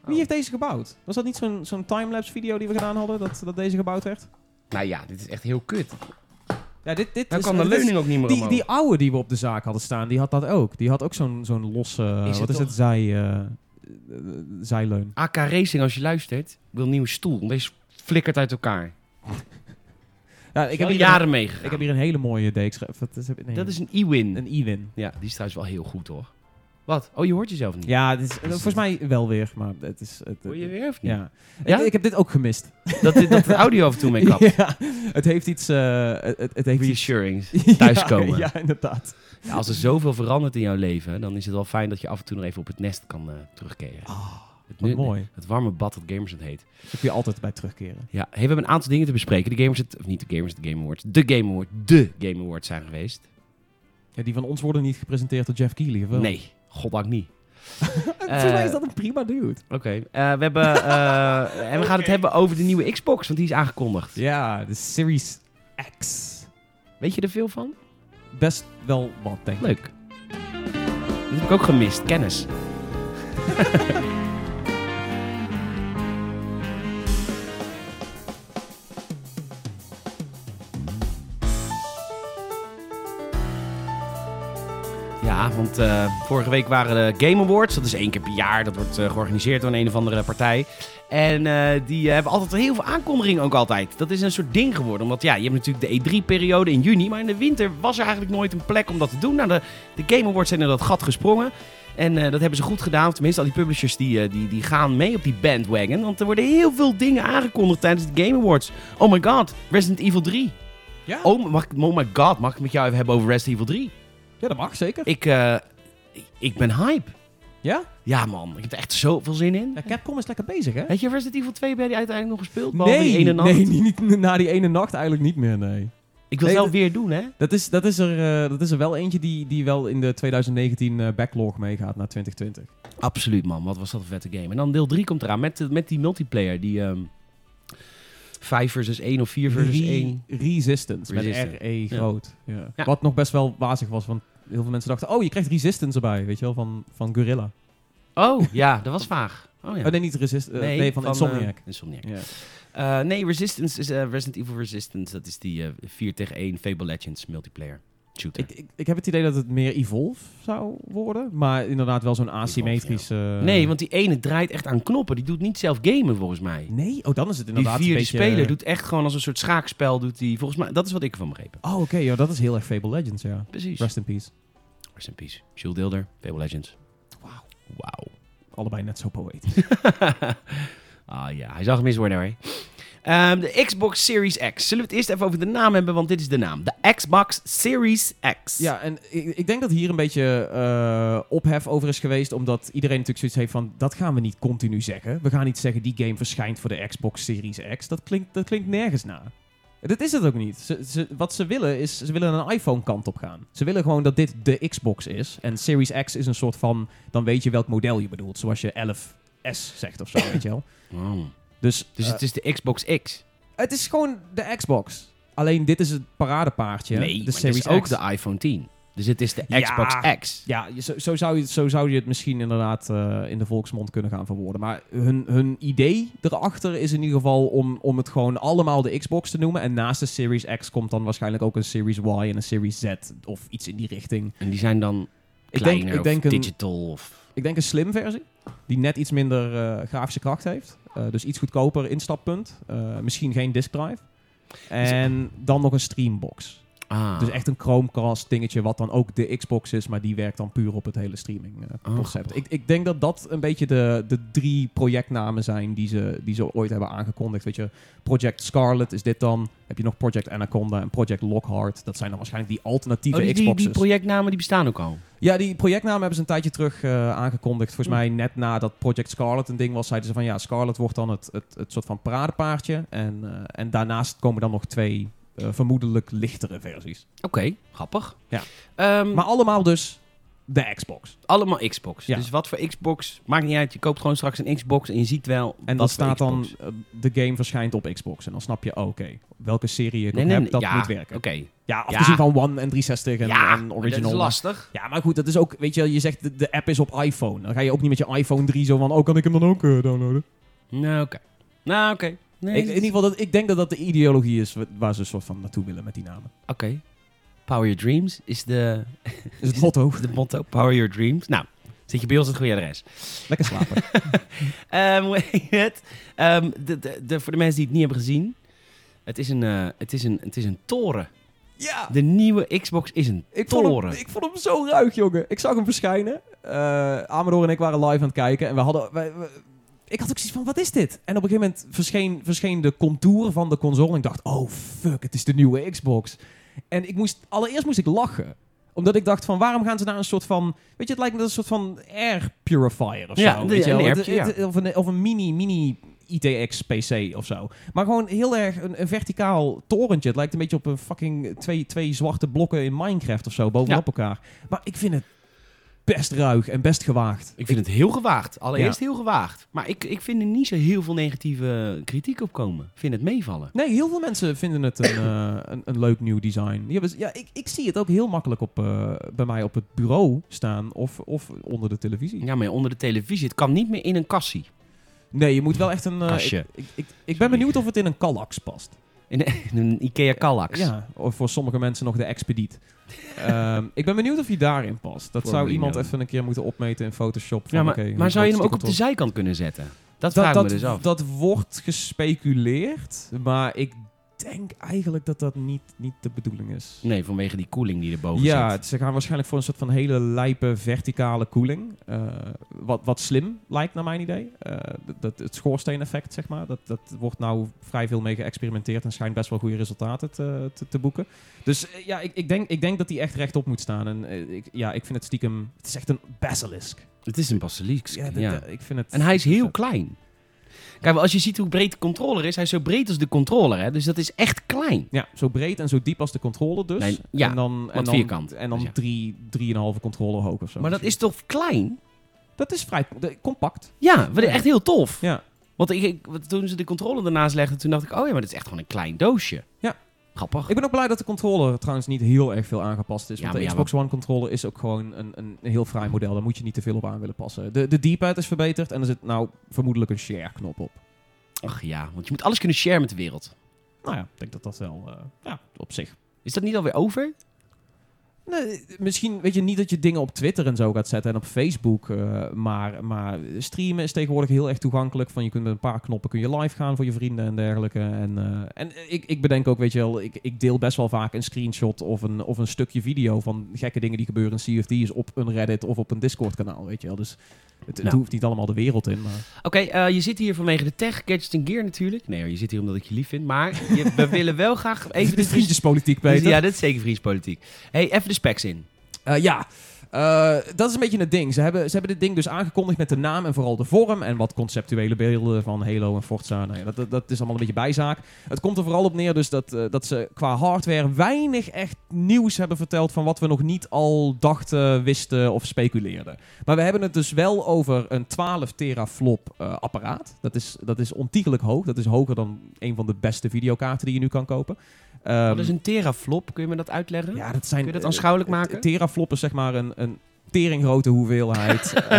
[SPEAKER 2] Wie
[SPEAKER 1] Oh.
[SPEAKER 2] heeft deze gebouwd? Was dat niet zo'n zo'n timelapse video die we gedaan hadden? Dat, dat deze gebouwd werd?
[SPEAKER 1] Nou ja, dit is echt heel kut.
[SPEAKER 2] Ja, dit, dit
[SPEAKER 1] Dan
[SPEAKER 2] is...
[SPEAKER 1] kan de
[SPEAKER 2] dit is-
[SPEAKER 1] leuning ook niet meer
[SPEAKER 2] die,
[SPEAKER 1] omhoog.
[SPEAKER 2] die oude die we op de zaak hadden staan, die had dat ook. Die had ook zo'n zo'n losse...
[SPEAKER 1] het
[SPEAKER 2] wat is
[SPEAKER 1] toch-
[SPEAKER 2] het? Zij, eh, eh, zijleun.
[SPEAKER 1] AK Racing, als je luistert, wil een nieuwe stoel. Want Deze flikkert uit elkaar.
[SPEAKER 2] Ja, ik, heb
[SPEAKER 1] al
[SPEAKER 2] hier
[SPEAKER 1] jaren
[SPEAKER 2] een,
[SPEAKER 1] meegegaan.
[SPEAKER 2] ik heb hier een hele mooie DX... of wat is het? Nee,
[SPEAKER 1] Dat is een e-win.
[SPEAKER 2] een e-win.
[SPEAKER 1] Ja, die is trouwens wel heel goed, hoor. Wat? Oh, je hoort jezelf niet.
[SPEAKER 2] Ja, dit is, eh, volgens mij wel weer, maar het is... Het,
[SPEAKER 1] Hoor
[SPEAKER 2] het-
[SPEAKER 1] je weer of niet?
[SPEAKER 2] Ja.
[SPEAKER 1] Ja?
[SPEAKER 2] Ik, ik heb dit ook gemist.
[SPEAKER 1] Dat, dit- dat de audio af en toe mee kapt.
[SPEAKER 2] ja, het heeft iets... eh, het, het heeft iets...
[SPEAKER 1] Reassurings.
[SPEAKER 2] Ja,
[SPEAKER 1] Thuiskomen.
[SPEAKER 2] Ja, inderdaad.
[SPEAKER 1] Ja, als er zoveel verandert in jouw leven, dan is het wel fijn dat je af en toe nog even op het nest kan eh, terugkeren. het,
[SPEAKER 2] Wat
[SPEAKER 1] nu-
[SPEAKER 2] mooi.
[SPEAKER 1] het warme bad dat gamers het heet.
[SPEAKER 2] Ah, Ik wil altijd bij terugkeren.
[SPEAKER 1] Ja, hey, we hebben een aantal dingen te bespreken. De Gamers, het, of niet de Gamers, de Game Awards. De Game Awards, de Game Awards zijn geweest.
[SPEAKER 2] Ja, die van ons worden niet gepresenteerd door Jeff Keighley, of wel? Eh,
[SPEAKER 1] Nee, goddank niet.
[SPEAKER 2] Volgens mij is dat een prima dude.
[SPEAKER 1] Oké, eh, we hebben... eh, en we gaan het hebben over de nieuwe Xbox, want die is aangekondigd.
[SPEAKER 2] Ja, de Series X.
[SPEAKER 1] Weet je er veel van?
[SPEAKER 2] Best wel wat, denk ik.
[SPEAKER 1] Leuk. Dit heb ik ook gemist, kennis. Ja, want eh, vorige week waren de Game Awards. Dat is één keer per jaar. Dat wordt eh, georganiseerd door een, een of andere partij. En eh, die eh, hebben altijd heel veel aankondigingen ook altijd. Dat is een soort ding geworden. Omdat ja, je hebt natuurlijk de E3-periode in juni. Maar in de winter was er eigenlijk nooit een plek om dat te doen. Nou, de, de Game Awards zijn in dat gat gesprongen. En eh, dat hebben ze goed gedaan. Tenminste, al die publishers die, eh, die, die gaan mee op die bandwagon. Want er worden heel veel dingen aangekondigd tijdens de Game Awards. Oh my god, Resident Evil 3.
[SPEAKER 2] Ja,
[SPEAKER 1] Oh, mag, ik- oh my god, mag ik het met jou even hebben over Resident Evil 3?
[SPEAKER 2] ja dat mag zeker.
[SPEAKER 1] Ik, eh, ik- ik ben hype.
[SPEAKER 2] Ja?
[SPEAKER 1] Ja, man. Ik heb er echt zoveel zin in.
[SPEAKER 2] ja, Capcom is lekker bezig, hè?
[SPEAKER 1] Heb je Resident Evil 2 bij die uiteindelijk nog gespeeld? Behalve die
[SPEAKER 2] Nee,
[SPEAKER 1] ene nacht?
[SPEAKER 2] nee niet, niet- na die ene nacht eigenlijk niet meer, nee.
[SPEAKER 1] Ik wil het
[SPEAKER 2] Nee,
[SPEAKER 1] wel
[SPEAKER 2] dat-
[SPEAKER 1] weer doen, hè?
[SPEAKER 2] Dat is, dat is, er, eh, dat is er wel eentje die, die wel in de 2019 eh, backlog meegaat naar 2020.
[SPEAKER 1] Absoluut, man. Wat was dat een vette game. En dan deel 3 komt eraan met, met die multiplayer. Die ehm 5 versus 1 of 4 versus
[SPEAKER 2] Re-
[SPEAKER 1] 1.
[SPEAKER 2] Resistance,
[SPEAKER 1] Resistance.
[SPEAKER 2] met RE
[SPEAKER 1] Ja.
[SPEAKER 2] groot. Ja.
[SPEAKER 1] Ja.
[SPEAKER 2] Wat nog best wel wazig was, want heel veel mensen dachten... Oh, je krijgt Resistance erbij, weet je wel, van, van Gorilla.
[SPEAKER 1] Oh, ja. Dat was vaag. Oh, ja.
[SPEAKER 2] Oh, nee, niet Resistance, nee, van, Insomniac.
[SPEAKER 1] eh, Insomniac.
[SPEAKER 2] ja.
[SPEAKER 1] Eh, nee, Resistance is eh, Resident Evil Resistance. Dat is die eh 4 tegen 1 Fable Legends multiplayer shooter.
[SPEAKER 2] ik, ik, ik heb het idee dat het meer Evolve zou worden, maar inderdaad wel zo'n asymmetrische...
[SPEAKER 1] nee, want die ene draait echt aan knoppen. Die doet niet zelf gamen, volgens mij.
[SPEAKER 2] Nee? Oh, dan is het
[SPEAKER 1] Die
[SPEAKER 2] inderdaad
[SPEAKER 1] vierde
[SPEAKER 2] een beetje...
[SPEAKER 1] speler doet echt gewoon als een soort schaakspel. Doet die, volgens mij, dat is wat ik ervan begreep. heb.
[SPEAKER 2] Oh, oké, joh, dat is heel erg Fable Legends, ja.
[SPEAKER 1] Precies. Rest,
[SPEAKER 2] Rest in peace.
[SPEAKER 1] in peace. Jules Deelder, Fable Legends. Wauw. Wauw.
[SPEAKER 2] Allebei net zo poëtisch.
[SPEAKER 1] ah ja, hij zag gemist worden hoor. Ehm, de Xbox Series X. Zullen we het eerst even over de naam hebben, want dit is de naam. De Xbox Series X.
[SPEAKER 2] Ja, en ik, ik denk dat hier een beetje eh, ophef over is geweest. Omdat iedereen natuurlijk zoiets heeft van... dat gaan we niet continu zeggen. We gaan niet zeggen die game verschijnt voor de Xbox Series X. Dat klinkt, dat klinkt nergens na. Dat is het ook niet. Ze, ze- wat ze willen is... ze willen een iPhone kant op gaan. Ze willen gewoon dat dit de Xbox is. En Series X is een soort van... dan weet je welk model je bedoelt. Zoals je 11S zegt of zo, weet je wel.
[SPEAKER 1] Wow.
[SPEAKER 2] Dus,
[SPEAKER 1] Dus
[SPEAKER 2] eh,
[SPEAKER 1] het is de Xbox X.
[SPEAKER 2] het is gewoon de Xbox. Alleen dit is het paradepaardje.
[SPEAKER 1] nee,
[SPEAKER 2] de
[SPEAKER 1] maar
[SPEAKER 2] Series
[SPEAKER 1] het is ook
[SPEAKER 2] X.
[SPEAKER 1] de iPhone 10. Dus het is de
[SPEAKER 2] Ja.
[SPEAKER 1] Xbox X.
[SPEAKER 2] Ja, je- zo, zo, zou je, het- zo zou je het misschien inderdaad eh, in de volksmond kunnen gaan verwoorden. Maar hun, hun idee erachter is in ieder geval om, om het gewoon allemaal de Xbox te noemen. En naast de Series X komt dan waarschijnlijk ook een Series Y en een Series Z of iets in die richting.
[SPEAKER 1] En die zijn dan
[SPEAKER 2] Ik
[SPEAKER 1] kleiner
[SPEAKER 2] denk, ik denk,
[SPEAKER 1] of
[SPEAKER 2] een,
[SPEAKER 1] digital of...
[SPEAKER 2] ik denk een slim versie, die net iets minder eh, grafische kracht heeft. Eh, dus iets goedkoper instappunt. Eh, misschien geen disk drive. En dan nog een streambox.
[SPEAKER 1] Ah.
[SPEAKER 2] Dus echt een Chromecast dingetje, wat dan ook de Xbox is, maar die werkt dan puur op het hele streaming eh,
[SPEAKER 1] Oh,
[SPEAKER 2] concept.
[SPEAKER 1] grappig.
[SPEAKER 2] ik, ik denk dat dat een beetje de, de drie projectnamen zijn die ze, die ze ooit hebben aangekondigd. Weet je, Project Scarlet is dit dan. Heb je nog Project Anaconda en Project Lockhart. Dat zijn dan waarschijnlijk die alternatieve
[SPEAKER 1] Oh, die, die,
[SPEAKER 2] Xboxes.
[SPEAKER 1] die projectnamen die bestaan ook al.
[SPEAKER 2] ja, die projectnamen hebben ze een tijdje terug eh, aangekondigd. Volgens
[SPEAKER 1] Hm.
[SPEAKER 2] mij net nadat Project Scarlet een ding was, zeiden ze van ja, Scarlet wordt dan het, het, het soort van paradepaardje. En, eh, en daarnaast komen dan nog twee eh, vermoedelijk lichtere versies.
[SPEAKER 1] Oké, grappig.
[SPEAKER 2] Ja.
[SPEAKER 1] Ehm,
[SPEAKER 2] Maar allemaal dus de Xbox.
[SPEAKER 1] allemaal Xbox.
[SPEAKER 2] Ja.
[SPEAKER 1] Dus wat voor Xbox, maakt niet uit. Je koopt gewoon straks een Xbox en je ziet wel
[SPEAKER 2] En dan
[SPEAKER 1] wat voor
[SPEAKER 2] staat dan,
[SPEAKER 1] Xbox.
[SPEAKER 2] eh, de game verschijnt op Xbox. En dan snap je, oh, oké, welke serie ik
[SPEAKER 1] Nee, nee,
[SPEAKER 2] op heb,
[SPEAKER 1] nee,
[SPEAKER 2] dat
[SPEAKER 1] ja,
[SPEAKER 2] moet werken.
[SPEAKER 1] Oké.
[SPEAKER 2] Ja, afgezien van One en 360 en,
[SPEAKER 1] Ja,
[SPEAKER 2] en
[SPEAKER 1] maar dat
[SPEAKER 2] Original.
[SPEAKER 1] is lastig.
[SPEAKER 2] Ja, maar goed, dat is ook, weet je, wel, je zegt de, de app is op iPhone. Dan ga je ook niet met je iPhone 3 zo van, oh, kan ik hem dan ook eh, downloaden?
[SPEAKER 1] Nou, oké. Nou, oké. Nee,
[SPEAKER 2] ik, in
[SPEAKER 1] dat-
[SPEAKER 2] ieder geval, dat, ik denk dat dat de ideologie is wa- waar ze een soort van naartoe willen met die namen.
[SPEAKER 1] Oké. Power Your Dreams is de,
[SPEAKER 2] Is Dus het motto.
[SPEAKER 1] de motto. Power Your Dreams. Nou, zit je bij ons op het goede adres.
[SPEAKER 2] Lekker slapen.
[SPEAKER 1] Ehm, hoe heet het? Ehm, de, de, de, voor de mensen die het niet hebben gezien. Het is een, eh, het is een, het is een toren.
[SPEAKER 2] ja!
[SPEAKER 1] De nieuwe Xbox is een
[SPEAKER 2] Ik vond,
[SPEAKER 1] toren.
[SPEAKER 2] hem, ik vond hem zo ruig, jongen. Ik zag hem verschijnen. Eh Amador en ik waren live aan het kijken. En we hadden... wij- we- ik had ook zoiets van, wat is dit? En op een gegeven moment verscheen, verscheen de contour van de console. En ik dacht, oh fuck, het is de nieuwe Xbox. En ik moest, allereerst moest ik lachen. Omdat ik dacht van, waarom gaan ze naar een soort van... Weet je, het lijkt me dat een soort van air purifier of
[SPEAKER 1] Ja,
[SPEAKER 2] zo.
[SPEAKER 1] de-
[SPEAKER 2] weet je
[SPEAKER 1] een
[SPEAKER 2] wel. Het-
[SPEAKER 1] airpje, ja.
[SPEAKER 2] het- Of een, of een mini, mini ITX-PC of zo. Maar gewoon heel erg een, een verticaal torentje. Het lijkt een beetje op een fucking twee, twee zwarte blokken in Minecraft of zo, bovenop elkaar. Maar ik vind het best ruig en best gewaagd.
[SPEAKER 1] Ik vind het heel gewaagd. Allereerst heel gewaagd. Maar ik, ik vind er niet zo heel veel negatieve kritiek op komen. Ik vind het meevallen.
[SPEAKER 2] Nee, heel veel mensen vinden het een, eh, een, een leuk nieuw design. Die hebben z- ja, ik, ik zie het ook heel makkelijk op, eh, bij mij op het bureau staan of, of onder de televisie.
[SPEAKER 1] Ja, maar onder de televisie. Het kan niet meer in een kassie.
[SPEAKER 2] Nee, je moet wel echt een... eh,
[SPEAKER 1] Kastje.
[SPEAKER 2] ik, ik, ik, ik ben benieuwd of het in een kallax past.
[SPEAKER 1] In een, in een Ikea Kallax.
[SPEAKER 2] Ja, of voor sommige mensen nog de Expediet. Ehm, ik ben benieuwd of hij daarin past. Dat
[SPEAKER 1] Voor
[SPEAKER 2] zou
[SPEAKER 1] Reno.
[SPEAKER 2] iemand even een keer moeten opmeten in Photoshop. Van,
[SPEAKER 1] Ja, maar,
[SPEAKER 2] oké, hoe
[SPEAKER 1] maar zou je hem
[SPEAKER 2] groot
[SPEAKER 1] ook op
[SPEAKER 2] is
[SPEAKER 1] de
[SPEAKER 2] die
[SPEAKER 1] zijkant kunnen zetten? Dat,
[SPEAKER 2] controle?
[SPEAKER 1] vraag
[SPEAKER 2] dat,
[SPEAKER 1] ik me dus af.
[SPEAKER 2] dat, dat wordt gespeculeerd, maar ik denk eigenlijk dat dat niet, niet de bedoeling is.
[SPEAKER 1] Nee, vanwege die koeling die erboven
[SPEAKER 2] ja,
[SPEAKER 1] zit.
[SPEAKER 2] ze gaan waarschijnlijk voor een soort van hele lijpe verticale koeling. Eh, wat, wat slim lijkt naar mijn idee. Eh, dat, dat, het schoorsteeneffect, zeg maar. Dat, dat wordt nou vrij veel mee geëxperimenteerd en schijnt best wel goede resultaten te, te, te boeken. Dus eh, ja, ik, ik, denk, ik denk dat die echt rechtop moet staan. En eh, ik, ja, ik vind het stiekem... Het is echt een basilisk.
[SPEAKER 1] Het is een basilisk.
[SPEAKER 2] Ja,
[SPEAKER 1] Ja,
[SPEAKER 2] dat- dat- ik vind het...
[SPEAKER 1] En hij is heel klein. Kijk, maar als je ziet hoe breed de controller is, hij is zo breed als de controller. Hè? Dus dat is echt klein.
[SPEAKER 2] Ja, zo breed en zo diep als de controller dus.
[SPEAKER 1] Nee, ja,
[SPEAKER 2] en dan, en
[SPEAKER 1] want
[SPEAKER 2] dan,
[SPEAKER 1] vierkant.
[SPEAKER 2] En dan
[SPEAKER 1] Dus ja.
[SPEAKER 2] drie, drieënhalve controller hoog of zo.
[SPEAKER 1] Maar dat is
[SPEAKER 2] misschien.
[SPEAKER 1] toch klein?
[SPEAKER 2] Dat is vrij de- compact.
[SPEAKER 1] Ja, wat echt heel tof.
[SPEAKER 2] Ja.
[SPEAKER 1] Want ik, ik- wat- toen ze de controller ernaast legden, toen dacht ik, oh ja, maar dit is echt gewoon een klein doosje.
[SPEAKER 2] Ja.
[SPEAKER 1] Grappig.
[SPEAKER 2] Ik ben ook blij dat de controller trouwens niet heel erg veel aangepast is.
[SPEAKER 1] Ja,
[SPEAKER 2] want
[SPEAKER 1] maar
[SPEAKER 2] de
[SPEAKER 1] ja,
[SPEAKER 2] Xbox One controller is ook gewoon een, een heel fraai model. Daar moet je niet te veel op aan willen passen. De, de D-pad is verbeterd en er zit nou vermoedelijk een share knop op.
[SPEAKER 1] Ach ja, want je moet alles kunnen share met de wereld.
[SPEAKER 2] Nou ja, ik denk dat dat wel eh, ja, op zich.
[SPEAKER 1] Is dat niet alweer over?
[SPEAKER 2] Nee, misschien weet je niet dat je dingen op Twitter en zo gaat zetten en op Facebook. eh, maar, maar streamen is tegenwoordig heel erg toegankelijk. Van je kunt met een paar knoppen kun je live gaan voor je vrienden en dergelijke. En, eh, en ik, ik bedenk ook, weet je wel, ik, ik deel best wel vaak een screenshot of een, of een stukje video van gekke dingen die gebeuren in CFD's op een Reddit of op een Discord kanaal. Weet je wel. Dus Het, het
[SPEAKER 1] Nou.
[SPEAKER 2] hoeft niet allemaal de wereld in. Maar...
[SPEAKER 1] Oké, eh, je zit hier vanwege de tech, gadgets en gear natuurlijk. Nee, hoor, je zit hier omdat ik je lief vind. Maar je- we willen wel graag even
[SPEAKER 2] Dit is vriendjespolitiek, Peter.
[SPEAKER 1] Ja, dit is zeker vriendspolitiek. hey, even de specs in.
[SPEAKER 2] Eh, ja. Eh, dat is een beetje het ding. Ze hebben, ze hebben dit ding dus aangekondigd met de naam en vooral de vorm. En wat conceptuele beelden van Halo en Forza. Nou ja, dat, dat, dat is allemaal een beetje bijzaak. Het komt er vooral op neer dus dat, eh, dat ze qua hardware weinig echt nieuws hebben verteld. van wat we nog niet al dachten, wisten of speculeerden. Maar we hebben het dus wel over een 12 teraflop eh, apparaat. Dat is, dat is ontiegelijk hoog. Dat is hoger dan een van de beste videokaarten die je nu kan kopen. Ehm,
[SPEAKER 1] Wat is een teraflop? Kun je me dat uitleggen?
[SPEAKER 2] ja, dat zijn,
[SPEAKER 1] Kun je dat
[SPEAKER 2] eh,
[SPEAKER 1] aanschouwelijk maken?
[SPEAKER 2] T- Teraflop is zeg maar een, een teringrote hoeveelheid. eh,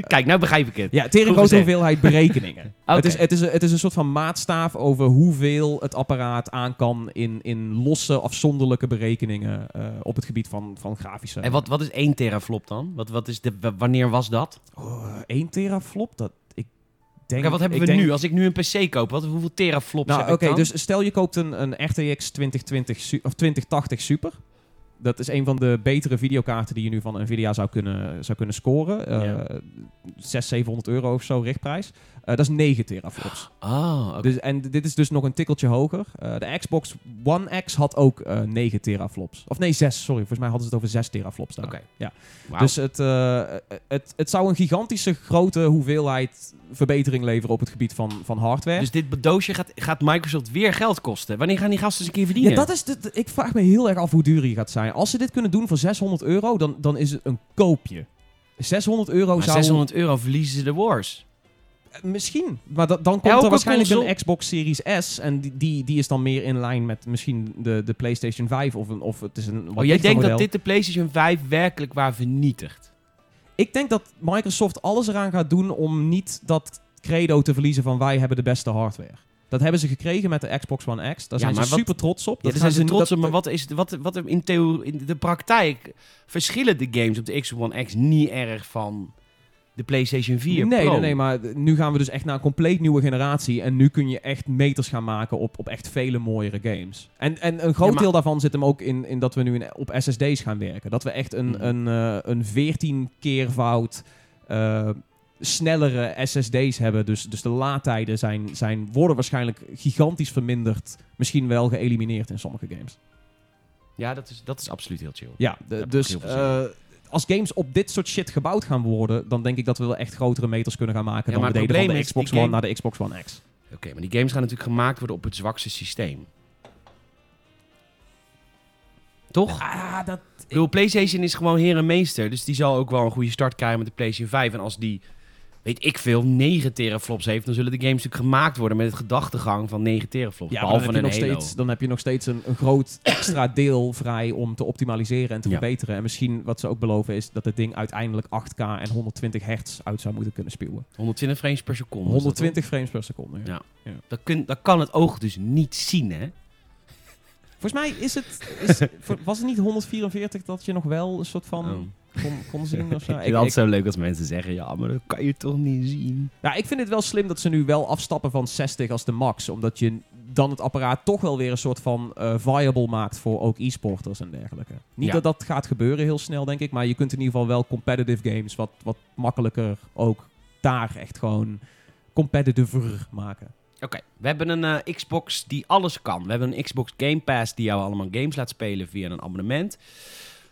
[SPEAKER 1] Kijk, nou begrijp ik het.
[SPEAKER 2] ja,
[SPEAKER 1] Goed
[SPEAKER 2] teringrote
[SPEAKER 1] gezegd.
[SPEAKER 2] hoeveelheid berekeningen.
[SPEAKER 1] Oké.
[SPEAKER 2] het, is, het, is een, het is een soort van maatstaaf over hoeveel het apparaat aan kan in, in losse, afzonderlijke berekeningen eh, op het gebied van, van grafische.
[SPEAKER 1] En wat, wat is één teraflop dan? Wat, wat is de, w- wanneer was dat?
[SPEAKER 2] Oh, één teraflop, dat ik denk.
[SPEAKER 1] Kijk, wat hebben
[SPEAKER 2] ik
[SPEAKER 1] we
[SPEAKER 2] denk-
[SPEAKER 1] nu? Als ik nu een PC koop, wat, hoeveel teraflops
[SPEAKER 2] Nou,
[SPEAKER 1] heb
[SPEAKER 2] oké,
[SPEAKER 1] ik dan?
[SPEAKER 2] dus stel je koopt een, een RTX 2020 su- of 2080 Super. Dat is een van de betere videokaarten die je nu van Nvidia zou kunnen, zou kunnen scoren. Eh
[SPEAKER 1] Ja.
[SPEAKER 2] 600, 700 euro of zo richtprijs. Eh, dat is 9 teraflops.
[SPEAKER 1] Ah, oké.
[SPEAKER 2] Dus, en dit is dus nog een tikkeltje hoger. Eh, de Xbox One X had ook eh 9 teraflops. Of nee, 6, sorry. Volgens mij hadden ze het over 6 teraflops daar.
[SPEAKER 1] Oké.
[SPEAKER 2] ja.
[SPEAKER 1] Nou. Wauw.
[SPEAKER 2] Dus het, eh, het, het zou een gigantische grote hoeveelheid verbetering leveren op het gebied van, van hardware.
[SPEAKER 1] Dus dit doosje gaat, gaat Microsoft weer geld kosten. Wanneer gaan die gasten eens een keer verdienen?
[SPEAKER 2] Ja, dat is de, de- ik vraag me heel erg af hoe duur die gaat zijn. Als ze dit kunnen doen voor 600 euro, dan, dan is het een koopje. 600 euro
[SPEAKER 1] Maar
[SPEAKER 2] zou...
[SPEAKER 1] 600 euro verliezen ze de wars.
[SPEAKER 2] Eh, Misschien. Maar da- dan komt
[SPEAKER 1] Elke
[SPEAKER 2] er waarschijnlijk
[SPEAKER 1] console-
[SPEAKER 2] een Xbox Series S. En die, die, die is dan meer in lijn met misschien de, de PlayStation 5. Of, een, of het is een
[SPEAKER 1] Oh,
[SPEAKER 2] wat
[SPEAKER 1] jij
[SPEAKER 2] lichter
[SPEAKER 1] denkt
[SPEAKER 2] model.
[SPEAKER 1] dat dit de PlayStation 5 werkelijk waar vernietigt?
[SPEAKER 2] Ik denk dat Microsoft alles eraan gaat doen om niet dat credo te verliezen van wij hebben de beste hardware. Dat hebben ze gekregen met de Xbox One X. Daar
[SPEAKER 1] Ja,
[SPEAKER 2] zijn
[SPEAKER 1] maar
[SPEAKER 2] ze
[SPEAKER 1] wat-
[SPEAKER 2] super trots op.
[SPEAKER 1] Ja,
[SPEAKER 2] Dat
[SPEAKER 1] daar
[SPEAKER 2] gaan
[SPEAKER 1] zijn ze
[SPEAKER 2] nu-
[SPEAKER 1] trots
[SPEAKER 2] dat-
[SPEAKER 1] op, maar wat is het, wat, wat in, theo, in de praktijk verschillen de games op de Xbox One X niet erg van de PlayStation 4
[SPEAKER 2] nee,
[SPEAKER 1] Pro.
[SPEAKER 2] nee, nee, maar d- nu gaan we dus echt naar een compleet nieuwe generatie. En nu kun je echt meters gaan maken op, op echt vele mooiere games. En, en een groot
[SPEAKER 1] Ja, maar-
[SPEAKER 2] deel daarvan zit hem ook in, in dat we nu in, op SSD's gaan werken. Dat we echt een,
[SPEAKER 1] Mhm.
[SPEAKER 2] een, eh, een 14 keervoud eh, snellere SSD's hebben. Dus, dus de laadtijden zijn, zijn, worden waarschijnlijk gigantisch verminderd. Misschien wel geëlimineerd in sommige games.
[SPEAKER 1] Ja, dat is, dat is absoluut heel chill.
[SPEAKER 2] Ja, de-
[SPEAKER 1] heb ik
[SPEAKER 2] dus
[SPEAKER 1] heel veel zin in.
[SPEAKER 2] eh, als games op dit soort shit gebouwd gaan worden, dan denk ik dat we wel echt grotere meters kunnen gaan maken
[SPEAKER 1] Ja,
[SPEAKER 2] dan
[SPEAKER 1] maar
[SPEAKER 2] we
[SPEAKER 1] het
[SPEAKER 2] deden van de
[SPEAKER 1] probleem is,
[SPEAKER 2] Xbox
[SPEAKER 1] die
[SPEAKER 2] One
[SPEAKER 1] game-
[SPEAKER 2] naar de Xbox One X.
[SPEAKER 1] Oké, maar die games gaan natuurlijk gemaakt worden op het zwakste systeem. Toch?
[SPEAKER 2] Ah, dat...
[SPEAKER 1] Ik bedoel, PlayStation is gewoon heer en meester. Dus die zal ook wel een goede start krijgen met de PlayStation 5. En als die, weet ik veel, 9 teraflops heeft... dan zullen de games natuurlijk gemaakt worden met het gedachtegang van 9 teraflops.
[SPEAKER 2] Ja, maar dan
[SPEAKER 1] behalve
[SPEAKER 2] heb, je
[SPEAKER 1] een
[SPEAKER 2] nog
[SPEAKER 1] Halo.
[SPEAKER 2] steeds, dan heb je nog steeds een, een groot extra deel vrij om te optimaliseren en te
[SPEAKER 1] Ja.
[SPEAKER 2] verbeteren. En misschien wat ze ook beloven is dat het ding uiteindelijk 8K en 120 hertz uit zou moeten kunnen spelen.
[SPEAKER 1] 120 frames per seconde. is dat,
[SPEAKER 2] 120 frames per seconde. Ja.
[SPEAKER 1] Ja. Dat, kun, dat kan het oog dus niet zien, hè?
[SPEAKER 2] Volgens mij is het, is, voor- was het niet 144 dat je nog wel een soort van
[SPEAKER 1] Oh.
[SPEAKER 2] kon, kon zien of zo?
[SPEAKER 1] Ik vind het zo leuk als mensen zeggen, ja, maar dat kan je toch niet zien.
[SPEAKER 2] Nou, ik vind het wel slim dat ze nu wel afstappen van 60 als de max. Omdat je dan het apparaat toch wel weer een soort van eh, viable maakt voor ook e-sporters en dergelijke. Niet
[SPEAKER 1] Ja.
[SPEAKER 2] dat dat gaat gebeuren heel snel, denk ik. Maar je kunt in ieder geval wel competitive games wat, wat makkelijker ook daar echt gewoon competitiver maken.
[SPEAKER 1] Oké, we hebben een eh, Xbox die alles kan. We hebben een Xbox Game Pass die jou allemaal games laat spelen via een abonnement.